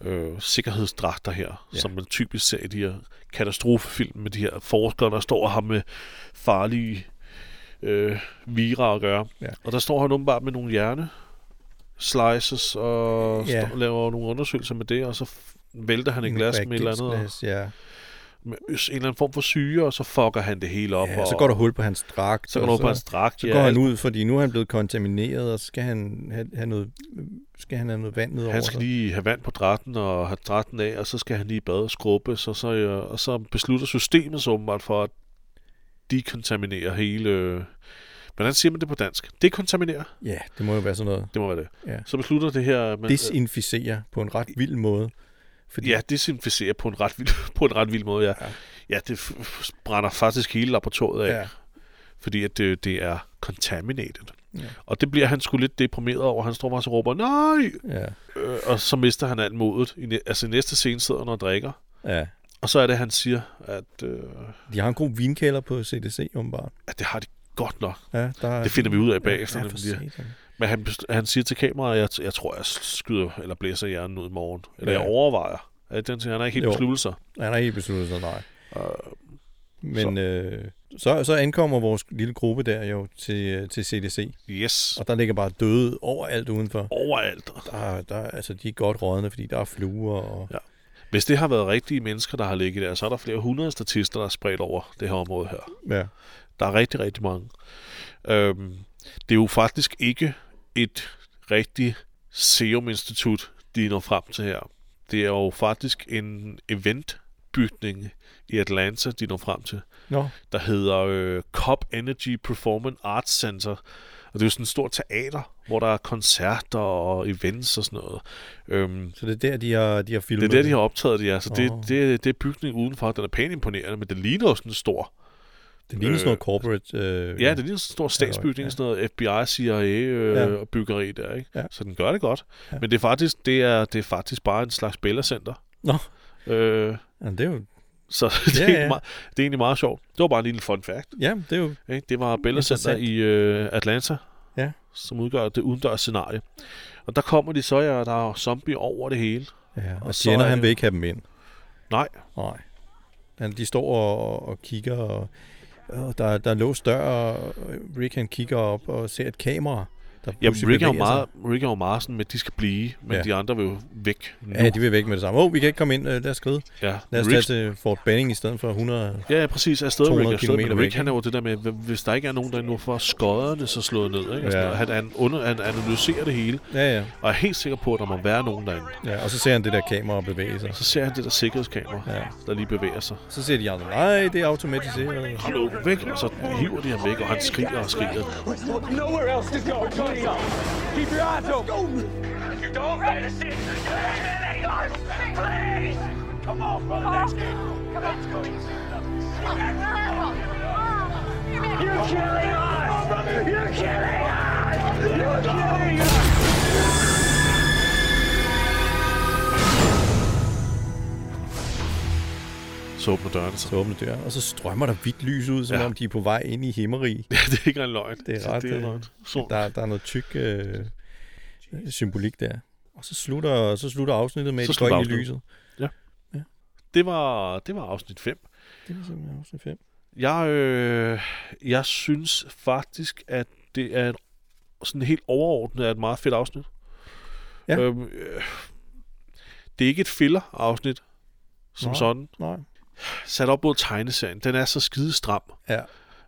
Speaker 1: øh, sikkerhedsdragter her, ja.
Speaker 2: Ja.
Speaker 1: som man typisk ser i de her katastrofefilm med de her forskere, der står og har med farlige øh, vira at gøre.
Speaker 2: Ja.
Speaker 1: Og der står han åbenbart med nogle hjerne slices og
Speaker 2: Ja.
Speaker 1: står, laver nogle undersøgelser med det, og så f- vælter han et glas med et eller andet. Og,
Speaker 2: Glas, ja.
Speaker 1: med en eller anden form for syre, og så fucker han det hele op.
Speaker 2: ja,
Speaker 1: og,
Speaker 2: så går der hul på hans dragt.
Speaker 1: så går
Speaker 2: og
Speaker 1: der op på hans dragt.
Speaker 2: Så går han ud, fordi nu er han blevet kontamineret, og så skal han have, have, noget, skal han have noget vand ned over
Speaker 1: Han skal
Speaker 2: sig.
Speaker 1: lige have vand på dragten og have dragten af, og så skal han lige i bad og skrubbe, så, så, øh, og så beslutter systemet så åbenbart for at dekontaminere hele... øh, Hvordan siger man det på dansk? Dekontaminere?
Speaker 2: Ja, det må jo være sådan noget.
Speaker 1: Det må være det.
Speaker 2: Ja.
Speaker 1: Så beslutter det her... Men,
Speaker 2: Desinficere på en ret vild måde. Fordi,
Speaker 1: øh, ja, desinficere på en ret vild, på en ret vild måde, ja.
Speaker 2: Ja.
Speaker 1: Ja, det f- f- brænder faktisk hele laboratoriet af.
Speaker 2: ja.
Speaker 1: fordi at det, det er contaminated. Ja.
Speaker 2: Ja.
Speaker 1: Og det bliver han sgu lidt deprimeret over. Han står bare og råber, nej!
Speaker 2: Ja,
Speaker 1: Øh, og så mister han alt modet. I næ- altså i næste scene sidder han og drikker.
Speaker 2: ja.
Speaker 1: Og så er det, han siger, at, øh,
Speaker 2: De har en god vinkælder på CDC, åbenbart.
Speaker 1: at det har de godt nok.
Speaker 2: Ja, der,
Speaker 1: Det finder vi ud af bagefter.
Speaker 2: Ja,
Speaker 1: Ja,
Speaker 2: for
Speaker 1: ja,
Speaker 2: satan.
Speaker 1: Men han, bes- han siger til kameraet, at jeg, jeg tror, jeg skyder eller blæser hjernen ud i morgen. Eller ja.
Speaker 2: Ja.
Speaker 1: jeg overvejer. At den siger, han har ikke helt
Speaker 2: Jo.
Speaker 1: besluttet sig.
Speaker 2: Han har ikke besluttet sig, nej. Men
Speaker 1: så-
Speaker 2: så. Øh, så, så ankommer vores lille gruppe der jo til, øh, til CDC,
Speaker 1: Yes.
Speaker 2: og der ligger bare døde overalt udenfor.
Speaker 1: Overalt.
Speaker 2: Der, der, altså, de er godt rådne, fordi der er fluer og...
Speaker 1: Ja. Hvis det har været rigtige mennesker, der har ligget der, så er der flere hundrede statister, der er spredt over det her område her.
Speaker 2: Ja.
Speaker 1: Der er rigtig, rigtig mange. Øhm, det er jo faktisk ikke et rigtigt seruminstitut, de når frem til her. Det er jo faktisk en eventbygning i Atlanta, de når frem til,
Speaker 2: Nå,
Speaker 1: der hedder øh, Cobb Energy Performance Arts Center. Og det er jo sådan et stort teater, hvor der er koncerter og events og sådan noget. Øhm,
Speaker 2: så det er der, de har, de har
Speaker 1: det er
Speaker 2: filmet
Speaker 1: der, de har optaget det, altså. Det,
Speaker 2: Åh.
Speaker 1: det, det er bygningen udenfor, den er pænt imponerende, men det ligner jo sådan en stor
Speaker 2: Det ligner sådan
Speaker 1: Øh,
Speaker 2: noget corporate... Øh,
Speaker 1: Ja, det er lige en stor statsbygning, ja.
Speaker 2: ja.
Speaker 1: sådan noget FBI, CIA øh,
Speaker 2: Ja.
Speaker 1: og byggeri der, ikke? Ja.
Speaker 2: Ja.
Speaker 1: Så den gør det godt. Ja.
Speaker 2: Ja.
Speaker 1: Men det er, faktisk, det, er, det er faktisk bare en slags bellacenter.
Speaker 2: Nå,
Speaker 1: Øh,
Speaker 2: ja, det er jo...
Speaker 1: så det, er
Speaker 2: Ja,
Speaker 1: egentlig
Speaker 2: ja.
Speaker 1: Meget, det er egentlig meget sjovt. Det var bare en lille fun fact.
Speaker 2: Ja, det er jo...
Speaker 1: Ikke? Det var bellacenter
Speaker 2: Interessant.
Speaker 1: i øh, Atlanta,
Speaker 2: Ja.
Speaker 1: som udgør det udendørs scenarie. Og der kommer de så, ja, og der er zombie over det hele.
Speaker 2: ja. Og,
Speaker 1: Og
Speaker 2: og
Speaker 1: så
Speaker 2: Jenner,
Speaker 1: er-
Speaker 2: han vil ikke have dem ind.
Speaker 1: Nej,
Speaker 2: Nej. Han, de står og, og kigger, og, og der, der er låst dør, og Rick han kigger op og ser et kamera, der
Speaker 1: ja,
Speaker 2: pludselig
Speaker 1: Rick er, jo
Speaker 2: bevæger sig.
Speaker 1: meget, Rick er jo meget sådan med, at de skal blive, men ja.
Speaker 2: Ja.
Speaker 1: de andre vil jo væk nu.
Speaker 2: Ja, de vil væk med det samme. Åh, oh, vi kan ikke komme ind. Øh, Lad os skride.
Speaker 1: ja.
Speaker 2: Lad os
Speaker 1: Rick
Speaker 2: tage til Fort Benning i stedet for 100...
Speaker 1: Ja, ja, præcis. Afsted med Rick.
Speaker 2: 200
Speaker 1: Afsted med
Speaker 2: kilometer
Speaker 1: Rick.
Speaker 2: væk,
Speaker 1: Rick, han er jo det der med, hv- hvis der ikke er nogen, der nu får skodderne så slået ned. Ikke?
Speaker 2: Ja.
Speaker 1: Ja. Han, han, under, han analyserer det hele,
Speaker 2: Ja, ja.
Speaker 1: og er helt sikker på, at der må være nogen derinde.
Speaker 2: ja og så ser han det der kamera bevæge sig.
Speaker 1: Så ser han det der sikkerhedskamera, ja.
Speaker 2: Ja.
Speaker 1: der lige bevæger sig.
Speaker 2: Så ser de andre, nej, det er automatiseret.
Speaker 1: Kom nu, væk! Og så hiver de ham væk, og han skriger og skriger.
Speaker 6: Look nowhere else to go. Please. Keep your eyes open. You don't let us in. Please. Come on, brother. Let's go. Let's go. You're killing us. You're killing us. You're killing us.
Speaker 1: Så åbner dørene sig.
Speaker 2: Så åbner døren, og så strømmer der hvidt lys ud, som
Speaker 1: Ja.
Speaker 2: ja. om de er på vej ind i himmerig.
Speaker 1: Ja, det er ikke en løgn.
Speaker 2: Det
Speaker 1: Så
Speaker 2: er ret...
Speaker 1: Det er
Speaker 2: øh,
Speaker 1: løgn. Så,
Speaker 2: Der, der er noget tyk øh, symbolik der. Og så slutter, så slutter afsnittet med,
Speaker 1: Så
Speaker 2: at de går
Speaker 1: slutter
Speaker 2: ind i
Speaker 1: afsnittet.
Speaker 2: lyset.
Speaker 1: det var, det var afsnit 5.
Speaker 2: Det var simpelthen afsnit 5.
Speaker 1: Jeg, øh, jeg synes faktisk, at det er et, sådan helt overordnet er et meget fedt afsnit.
Speaker 2: Ja.
Speaker 1: Øhm, øh, det er ikke et filler-afsnit, som
Speaker 2: Nej.
Speaker 1: sådan.
Speaker 2: Nej.
Speaker 1: Sat op mod tegneserien. Den er så skide stram,
Speaker 2: Ja.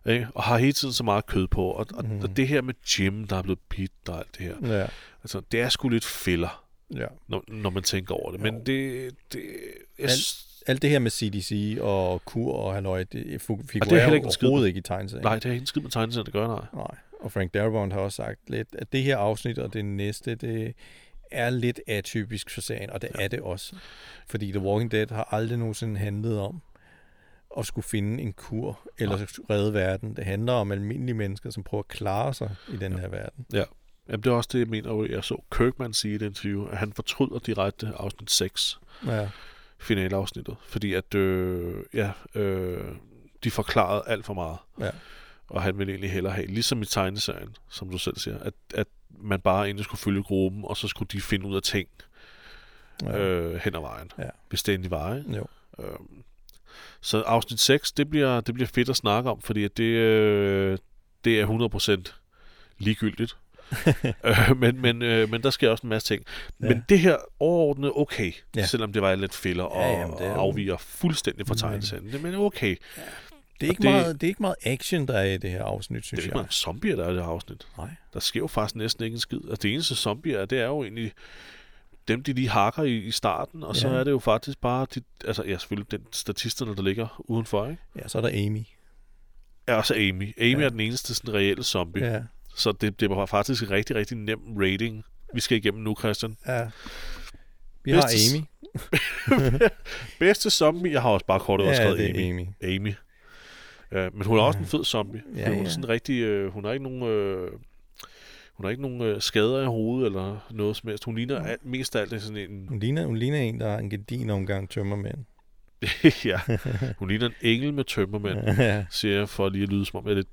Speaker 1: ikke? og har hele tiden så meget kød på. Og,
Speaker 2: Mhm.
Speaker 1: og, mm. og det her med Jim, der er blevet bidt og alt det her.
Speaker 2: Ja.
Speaker 1: Altså, det er sgu lidt filler,
Speaker 2: ja.
Speaker 1: når, når man tænker over det. Men det... det jeg,
Speaker 2: Alt,
Speaker 1: synes-
Speaker 2: alt det her med CDC og kur og halløj, det fu- figurerer
Speaker 1: heller
Speaker 2: det
Speaker 1: ikke en skid.
Speaker 2: overhovedet ikke i tegneserien.
Speaker 1: nej, det har ikke en skid med tegneserien, det gør nej.
Speaker 2: Nej. Og Frank Darabont har også sagt lidt, at det her afsnit og det næste, det er lidt atypisk for serien, og det ja. er det også. Fordi The Walking Dead har aldrig nogensinde handlet om at skulle finde en kur eller redde verden. Det handler om almindelige mennesker, som prøver at klare sig i den her verden.
Speaker 1: Ja. Jamen, det er også det, jeg mener, og jeg så Kirkman sige i det interview, at han fortryder direkte afsnit 6,
Speaker 2: Ja.
Speaker 1: finaleafsnittet, fordi at, øh, ja, øh, de forklarede alt for meget,
Speaker 2: ja.
Speaker 1: og han ville egentlig hellere have, ligesom i tegneserien, som du selv siger, at, at man bare egentlig skulle følge gruppen, og så skulle de finde ud af ting
Speaker 2: Ja.
Speaker 1: øh, hen ad vejen,
Speaker 2: Ja.
Speaker 1: hvis det endelig var, ikke?
Speaker 2: Jo.
Speaker 1: Så afsnit 6, det bliver, det bliver fedt at snakke om, fordi at det, øh, det er 100% ligegyldigt. øh, men, men, øh, men der sker også en masse ting. Ja. Men det her overordnet okay, ja.
Speaker 2: Ja.
Speaker 1: selvom det var lidt filler og
Speaker 2: Ja,
Speaker 1: ja,
Speaker 2: jamen, det er jo- Mm.
Speaker 1: afviger fuldstændig fra tegneserien. Det- Men okay, det
Speaker 2: Det, er ikke
Speaker 1: det-
Speaker 2: det... Meget, det er ikke meget action, der er i det her afsnit,
Speaker 1: er
Speaker 2: synes
Speaker 1: ikke
Speaker 2: jeg.
Speaker 1: mange zombier, der er i det her afsnit.
Speaker 2: Nej.
Speaker 1: Der sker jo faktisk næsten ikke en skid. Altså, det eneste zombier, det er jo egentlig dem, de lige hakker i, i starten, og ja. så
Speaker 2: Ja.
Speaker 1: er det jo faktisk bare, de, altså ja, selvfølgelig den statisterne, der ligger udenfor, ikke?
Speaker 2: Ja, så er der Amy.
Speaker 1: er også Amy. Amy ja. er den eneste sådan reelle zombie. Ja.
Speaker 2: Ja.
Speaker 1: Så det, det var faktisk en rigtig, rigtig nem rating, vi skal igennem nu, Christian.
Speaker 2: ja. Vi har
Speaker 1: Bedste s-
Speaker 2: Amy.
Speaker 1: Bedste zombie, jeg har også bare kortet ja,
Speaker 2: Ja,
Speaker 1: skrevet
Speaker 2: det er
Speaker 1: Amy. Amy. Amy. Ja, men hun er også en fed zombie.
Speaker 2: Ja,
Speaker 1: Ja, hun, er
Speaker 2: ja.
Speaker 1: sådan rigtig, øh, hun har ikke nogen... Øh, hun har ikke nogen øh, skader i hovedet eller noget som helst. Hun
Speaker 2: Mm.
Speaker 1: ligner alt, mest af alt sådan en...
Speaker 2: Hun ligner, hun ligner en, der har en gedin omgang tømmermænd.
Speaker 1: ja, hun ligner en engel med tømmermænd.
Speaker 2: ja.
Speaker 1: siger jeg, for lige at lyde som om jeg er lidt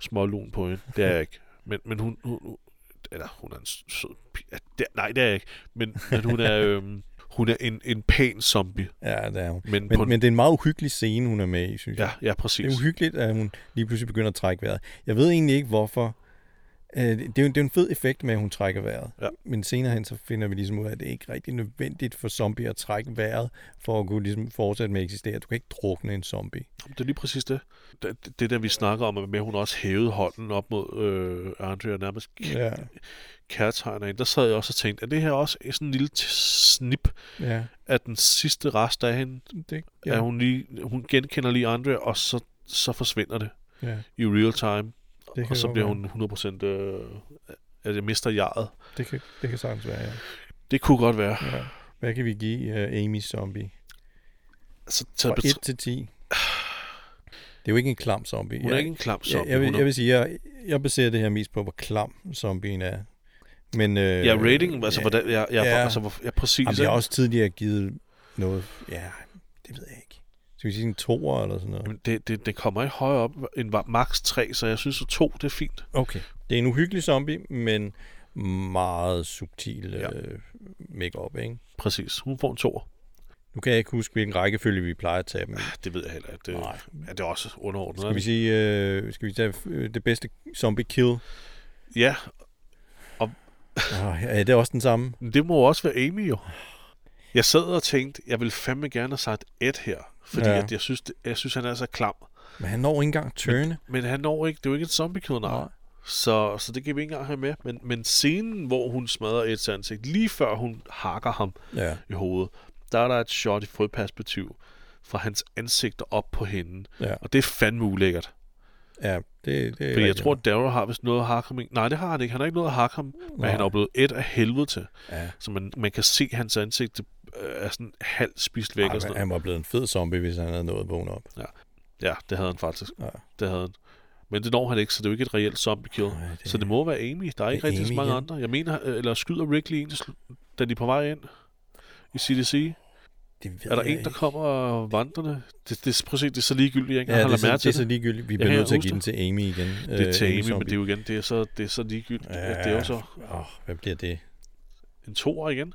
Speaker 1: smålun på hende. Det er jeg ikke. Men, men hun, hun, hun, eller hun er en s- sød pige. Ja, det, nej, det er jeg ikke. Men, men hun er, øhm, hun er en, en pæn zombie.
Speaker 2: ja, det er hun.
Speaker 1: Men,
Speaker 2: Men,
Speaker 1: på,
Speaker 2: men det er en meget uhyggelig scene, hun er med i, synes
Speaker 1: ja,
Speaker 2: jeg.
Speaker 1: ja,
Speaker 2: Det
Speaker 1: præcis.
Speaker 2: er uhyggeligt, at hun lige pludselig begynder at trække vejret. Jeg ved egentlig ikke, hvorfor. Øh, Det det er, jo, det er jo en fed effekt med, at hun trækker vejret.
Speaker 1: Ja.
Speaker 2: Men senere hen, så finder vi ligesom ud af, at det ikke er rigtig nødvendigt for zombier at trække vejret, for at kunne ligesom fortsætte med at eksistere. Du kan ikke drukne en zombie.
Speaker 1: Det er lige præcis det. Det, det der, vi snakker om, er med, at hun også hævede hånden op mod øh, Andrea og nærmest k-
Speaker 2: Ja,
Speaker 1: kærtegner hende. Der sad jeg også og tænkte, er det her også sådan en lille t- snip
Speaker 2: ja.
Speaker 1: af den sidste rest af hende?
Speaker 2: Det,
Speaker 1: Ja. At hun, lige, hun genkender lige Andrea, og så, så forsvinder det.
Speaker 2: ja.
Speaker 1: i real time.
Speaker 2: Det
Speaker 1: og
Speaker 2: kan
Speaker 1: så
Speaker 2: godt
Speaker 1: bliver
Speaker 2: være.
Speaker 1: hun 100% øh, at jeg mister jaret.
Speaker 2: Det, kan, det kan sagtens være, ja.
Speaker 1: Det kunne godt være.
Speaker 2: ja. Hvad kan vi give uh, Amy's zombie?
Speaker 1: Så, så
Speaker 2: Fra
Speaker 1: betr-
Speaker 2: 1 til 10. Det er jo ikke en klam zombie.
Speaker 1: hun er ikke en klam
Speaker 2: jeg,
Speaker 1: zombie.
Speaker 2: jeg, vil,
Speaker 1: hun er,
Speaker 2: jeg vil sige, jeg, jeg baserer det her mest på, hvor klam zombien er. Men, øh,
Speaker 1: ja, rating, altså,
Speaker 2: ja,
Speaker 1: hvordan, jeg, jeg, ja.
Speaker 2: ja.
Speaker 1: altså, hvor- ja, præcis.
Speaker 2: Jamen, jeg
Speaker 1: ikke?
Speaker 2: har også tidligere givet noget, ja, det ved jeg ikke. Skal vi sige en toer eller sådan noget?
Speaker 1: Jamen, det, det, det kommer ikke højere op end var- max 3, så jeg synes, at 2 det er fint.
Speaker 2: Okay. Det er en uhyggelig zombie, men meget subtil ja. øh, make-up, ikke?
Speaker 1: Præcis. Hun får en 2.
Speaker 2: Nu kan jeg ikke huske, hvilken rækkefølge vi plejer at tage dem. i.
Speaker 1: Det ved jeg heller ikke. Det,
Speaker 2: Nej.
Speaker 1: Ja, det er også underordnet.
Speaker 2: Skal vi
Speaker 1: ikke?
Speaker 2: sige, øh, skal vi tage øh, det bedste zombie kill?
Speaker 1: Ja,
Speaker 2: Oh, ja, det er også den samme.
Speaker 1: men det må jo også være Amy jo. Jeg sad og tænkte, jeg vil fandme gerne have sagt et her, fordi
Speaker 2: Ja.
Speaker 1: ja. at jeg, synes, jeg synes, han er så klam.
Speaker 2: Men han når ikke engang tørne.
Speaker 1: Men han når ikke, det er jo ikke et zombie kill, nej.
Speaker 2: Nej.
Speaker 1: Så, så det kan vi ikke engang have med. Men, men scenen, hvor hun smadrer Eds ansigt, lige før hun hakker ham
Speaker 2: Ja.
Speaker 1: i hovedet, der er der et shot i frøperspektiv fra hans ansigt og op på hende.
Speaker 2: Ja.
Speaker 1: Og det er fandme ulækkert.
Speaker 2: Ja, det, det er
Speaker 1: Fordi jeg
Speaker 2: rigtigt.
Speaker 1: tror, at Daryl har vist noget at hakke ham i. Nej, det har han ikke. Han har ikke noget at hakke ham, men han er jo blevet et af helvede til.
Speaker 2: Ja.
Speaker 1: Så man, man kan se, at hans ansigt øh, er sådan halvt spist væk.
Speaker 2: Ej,
Speaker 1: og
Speaker 2: men
Speaker 1: sådan noget.
Speaker 2: han var blevet en fed zombie, hvis han havde nået at vågne op.
Speaker 1: Ja. ja, det havde han faktisk.
Speaker 2: Ja.
Speaker 1: Det havde han. Men det når han ikke, så det er jo ikke et reelt zombie kill.
Speaker 2: Nej, det-
Speaker 1: Så det må være Amy. Der er ikke
Speaker 2: er
Speaker 1: rigtig så
Speaker 2: Amy
Speaker 1: mange
Speaker 2: igen.
Speaker 1: andre. Jeg mener, øh, eller skyder Rick lige en, til slu- da de er på vej ind i CDC?
Speaker 2: Det ved
Speaker 1: Er der
Speaker 2: jeg
Speaker 1: en, der
Speaker 2: ikke.
Speaker 1: kommer vandrende? Det, det, prøv at se, det er så ligegyldigt, jeg ikke
Speaker 2: Ja,
Speaker 1: ja,
Speaker 2: det er,
Speaker 1: har
Speaker 2: så,
Speaker 1: mærke
Speaker 2: det
Speaker 1: til
Speaker 2: er så øh,
Speaker 1: det.
Speaker 2: ligegyldigt. Vi
Speaker 1: kan
Speaker 2: bliver nødt til at
Speaker 1: huske
Speaker 2: give den til Amy igen.
Speaker 1: Det er til Amy, men det er jo igen, det er så, det er så ligegyldigt. Ja. Det er jo så
Speaker 2: Åh, hvad bliver det?
Speaker 1: en toer igen.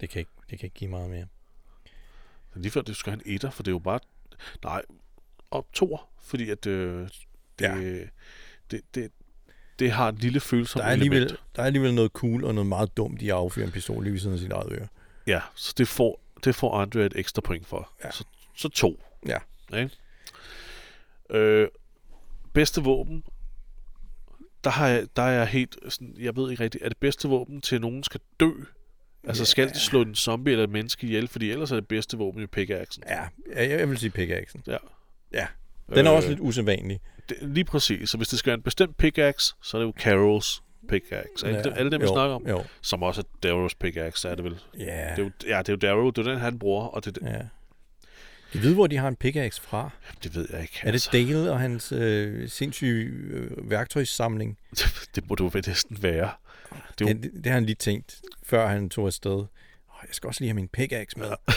Speaker 2: Det kan, ikke, det kan ikke give meget mere.
Speaker 1: Så lige før, det skal have en etter, for det er jo bare... Nej, og toer, fordi at... Øh, det,
Speaker 2: Ja.
Speaker 1: ja. det, det, det har et lille følsomt
Speaker 2: Der er, alligevel, der er alligevel noget cool og noget meget dumt i at affyre en pistol lige ved siden af sit eget øre.
Speaker 1: Ja, så det får, det får Andre et ekstra point for. Ja. Så, så to.
Speaker 2: Ja.
Speaker 1: Ikke? Øh, bedste våben, der, har jeg, der er jeg helt, sådan, jeg ved ikke rigtigt, er det bedste våben til, at nogen skal dø? Altså skal de slå en zombie eller et menneske ihjel, fordi ellers er det bedste våben jo pickaxen.
Speaker 2: Ja, jeg, jeg vil sige pickaxen.
Speaker 1: Ja.
Speaker 2: Ja. Den er
Speaker 1: Øh.
Speaker 2: også lidt usædvanlig.
Speaker 1: Det, lige præcis, så hvis det skal være en bestemt pickaxe, så er det jo Carols pickaxe. Er det
Speaker 2: Ja.
Speaker 1: dem- alle dem, vi
Speaker 2: Jo,
Speaker 1: snakker om?
Speaker 2: jo.
Speaker 1: Som også er Darrows pickaxe, er det vel?
Speaker 2: Ja.
Speaker 1: Det er jo, ja, det er jo Darrow, det er den, han bruger, og det,
Speaker 2: ja. Jeg ved, hvor de har en pickaxe fra.
Speaker 1: det ved jeg ikke.
Speaker 2: Er det Dale og hans øh, sindssyge øh, værktøjssamling?
Speaker 1: Altså, det må du vel næsten være. Det
Speaker 2: Det,
Speaker 1: er jo
Speaker 2: det, det, har han lige tænkt, før han tog afsted. Åh, jeg skal også lige have min pickaxe med.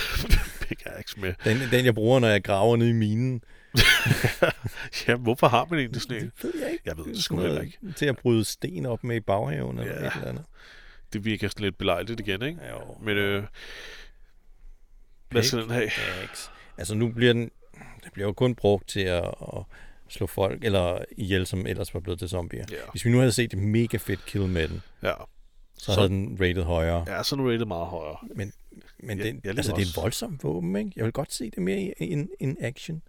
Speaker 1: pickaxe med.
Speaker 2: Den, den, jeg bruger, når jeg graver nede i minen.
Speaker 1: ja, hvorfor har man egentlig sådan en?
Speaker 2: Det ved jeg ikke.
Speaker 1: Jeg ved det
Speaker 2: Sådan
Speaker 1: sgu heller
Speaker 2: noget
Speaker 1: ikke.
Speaker 2: Til at bryde sten op med i baghaven eller
Speaker 1: Ja.
Speaker 2: et eller andet.
Speaker 1: Det virker sådan lidt belejligt igen, ikke?
Speaker 2: Jo.
Speaker 1: Men øh, hvad skal den have?
Speaker 2: Pickaxe. Altså nu bliver den, den bliver jo kun brugt til at, at slå folk eller ihjel, som ellers var blevet til zombier.
Speaker 1: Ja.
Speaker 2: Hvis vi nu havde set et mega fedt kill med den,
Speaker 1: Ja,
Speaker 2: så,
Speaker 1: Så-
Speaker 2: så havde den rated højere.
Speaker 1: ja sådan er rated meget højere.
Speaker 2: Men, men
Speaker 1: Ja,
Speaker 2: ja,
Speaker 1: jeg
Speaker 2: den,
Speaker 1: ligger
Speaker 2: altså, det er
Speaker 1: også-
Speaker 2: et voldsomt våben, ikke? Jeg vil godt se det mere i en, en action.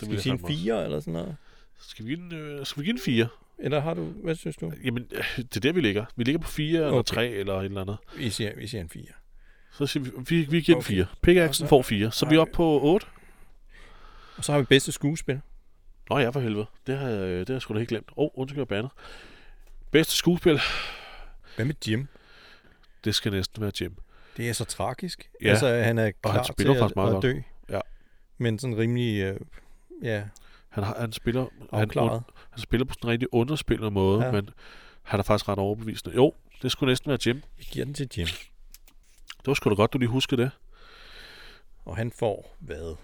Speaker 1: Det
Speaker 2: Skal vi sige en
Speaker 1: fandme også.
Speaker 2: 4 eller sådan noget?
Speaker 1: Skal vi give en, øh, skal vi give en 4?
Speaker 2: Eller har du, hvad synes du?
Speaker 1: Jamen, øh, det er der, vi ligger. Vi ligger på 4 okay. eller
Speaker 2: Okay.
Speaker 1: 3 eller et eller andet.
Speaker 2: Vi siger, vi siger en 4.
Speaker 1: Så siger vi, vi, vi giver okay. en
Speaker 2: Okay.
Speaker 1: 4. Pickaxen
Speaker 2: Og så-
Speaker 1: får 4. Så er vi
Speaker 2: Nej.
Speaker 1: oppe på 8.
Speaker 2: Og så har vi bedste skuespil.
Speaker 1: Nå ja, for helvede. Det har, jeg- det har jeg sgu da helt glemt. Åh, oh, undskyld, jeg bander. Bedste skuespil,
Speaker 2: Hvad med Jim?
Speaker 1: det skal næsten være Jim.
Speaker 2: Det er så tragisk.
Speaker 1: Ja.
Speaker 2: Ja. Altså, han er klar
Speaker 1: han spiller
Speaker 2: til
Speaker 1: faktisk
Speaker 2: at,
Speaker 1: meget
Speaker 2: at
Speaker 1: godt.
Speaker 2: dø.
Speaker 1: Ja.
Speaker 2: Men sådan rimelig, øh, ja,
Speaker 1: Han, har, han spiller... Han,
Speaker 2: afklaret.
Speaker 1: Han spiller på sådan en rigtig underspillende måde, ja.
Speaker 2: Ja.
Speaker 1: men han er faktisk ret overbevisende. Jo, det skulle næsten være Jim.
Speaker 2: Jeg giver den til Jim.
Speaker 1: Det var sgu da godt, du lige husker det.
Speaker 2: Og han får hvad?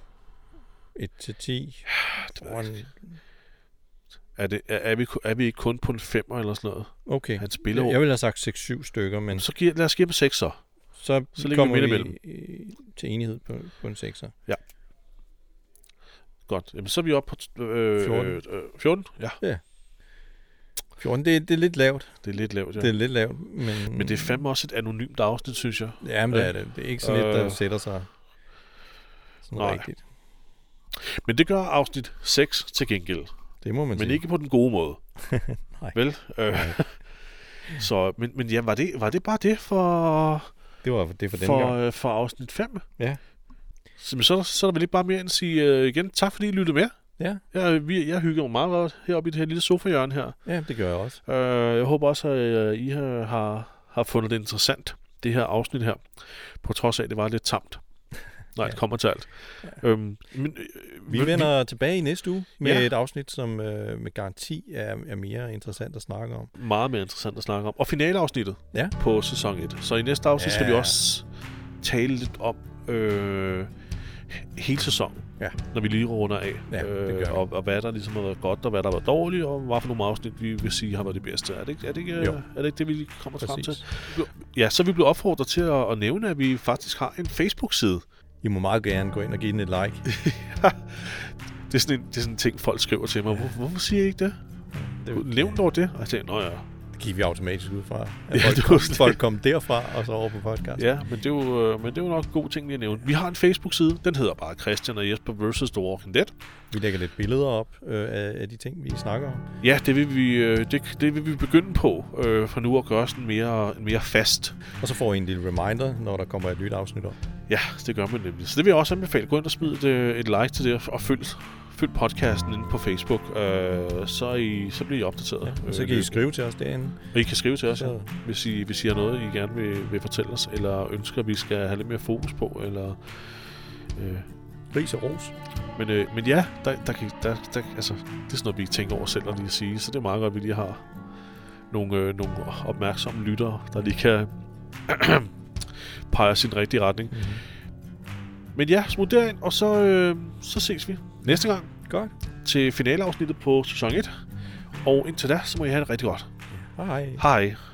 Speaker 2: 1 til 10? Tror han-
Speaker 1: Er, det, er, er, vi, ku- er vi ikke kun på en femmer eller sådan noget?
Speaker 2: Okay.
Speaker 1: Han spiller
Speaker 2: Jeg-
Speaker 1: jo-
Speaker 2: Jeg ville have sagt 6-7 stykker, men så,
Speaker 1: Så giver, lad os give ham seks så.
Speaker 2: så,
Speaker 1: så ligger vi
Speaker 2: kommer
Speaker 1: midt
Speaker 2: vi,
Speaker 1: imellem.
Speaker 2: øh, til enighed på, på en 6'er.
Speaker 1: Godt. Jamen, så er vi oppe på... t- Øh, 14.
Speaker 2: 14.
Speaker 1: Øh, 14? Ja,
Speaker 2: 14, det, er- det er lidt lavt.
Speaker 1: det er lidt lavt, ja.
Speaker 2: Det er lidt lavt, men...
Speaker 1: Men det er fandme også et anonymt afsnit, synes jeg.
Speaker 2: Ja, men det er det. Det er ikke sådan lidt,
Speaker 1: Øh.
Speaker 2: der sætter sig sådan
Speaker 1: Nej.
Speaker 2: rigtigt.
Speaker 1: Men det gør afsnit 6 til gengæld.
Speaker 2: Det må man
Speaker 1: Men
Speaker 2: sige.
Speaker 1: ikke på den gode måde.
Speaker 2: Nej.
Speaker 1: Vel? Øh, så, men, men ja, var det, var det bare det for...
Speaker 2: Det var det er for den
Speaker 1: for,
Speaker 2: gang.
Speaker 1: øh, for afsnit 5.
Speaker 2: Ja.
Speaker 1: Så, men så, er der- så er der vel ikke bare mere end at sige øh, igen, tak fordi I lyttede med.
Speaker 2: Ja,
Speaker 1: Jeg, vi, jeg hygger mig meget godt heroppe i det her lille sofa-hjørne her.
Speaker 2: ja, det gør jeg også.
Speaker 1: Øh, jeg håber også, at øh, I har, har, har fundet det interessant, det her afsnit her. På trods af, at det var lidt tamt. Nej, det kommer til alt. Ja. Øhm, men, øh,
Speaker 2: Vi
Speaker 1: men-
Speaker 2: vender tilbage i næste uge med
Speaker 1: Ja.
Speaker 2: ja. et afsnit, som øh, med garanti er, er mere interessant at snakke om.
Speaker 1: Meget mere interessant at snakke om. Og finaleafsnittet
Speaker 2: Ja.
Speaker 1: på sæson 1. Så i næste afsnit ja. skal vi
Speaker 2: Ja.
Speaker 1: også tale lidt om øh, hele sæsonen.
Speaker 2: Ja.
Speaker 1: når vi lige runder af. Øh,
Speaker 2: Ja, det gør vi.
Speaker 1: og, og, hvad der ligesom har været godt, og hvad der har været dårligt, og hvad for nogle afsnit, vi vil sige har været det bedste. Er det ikke, er det ikke, øh,
Speaker 2: Jo.
Speaker 1: er det, ikke det vi lige kommer frem til?
Speaker 2: Præcis.
Speaker 1: Ja, så er vi blev opfordret til at, at, nævne, at vi faktisk har en Facebook-side.
Speaker 2: I må meget gerne gå ind og give den et like.
Speaker 1: Det er, sådan en, det er sådan en ting, folk skriver til mig. Hvor, hvorfor siger I ikke det?
Speaker 2: Det,
Speaker 1: Nævn dog det. Og jeg tænker, nå ja.
Speaker 2: det gik vi automatisk ud fra.
Speaker 1: Ja,
Speaker 2: At folk,
Speaker 1: det var
Speaker 2: kom,
Speaker 1: sådan-
Speaker 2: folk kom derfra og så over på podcast.
Speaker 1: Ja, men det er jo, øh, men det er jo nok en god ting lige at nævne. Vi har en Facebook-side. Den hedder bare Christian og Jesper vs. The Walking Dead.
Speaker 2: Vi lægger lidt billeder op øh, af, af de ting, vi snakker om.
Speaker 1: Ja, det vil vi, øh, det, det vil vi begynde på øh, for nu at gøre sådan mere, mere fast.
Speaker 2: Og så får I en lille reminder, når der kommer et nyt afsnit op.
Speaker 1: Ja, det gør man nemlig. Så det vil jeg også anbefale. Gå ind og smid et, øh, et like til det, og følg, følg podcasten inde på Facebook. Øh, så, er I, så bliver I opdateret.
Speaker 2: Ja,
Speaker 1: øh,
Speaker 2: og så kan I
Speaker 1: løbende.
Speaker 2: skrive til os derinde.
Speaker 1: og I kan skrive til os, ja,
Speaker 2: Ja.
Speaker 1: hvis, I, hvis I har noget, I gerne vil, vil fortælle os, eller ønsker, at vi skal have lidt mere fokus på. Eller, øh,
Speaker 2: Ris og ros.
Speaker 1: men, øh, men ja, der, der, kan, der, der, altså, det er sådan noget, vi ikke tænker over selv at lige sige, så det er meget godt, at vi lige har nogle, øh, nogle opmærksomme lyttere, der lige kan pege os i den rigtige retning.
Speaker 2: Mm-hmm.
Speaker 1: Men ja, smut derind, og så, øh, så ses vi næste gang
Speaker 2: Godt.
Speaker 1: til finaleafsnittet på sæson 1. Og indtil da, så må I have det rigtig godt.
Speaker 2: Hej.
Speaker 1: Hej.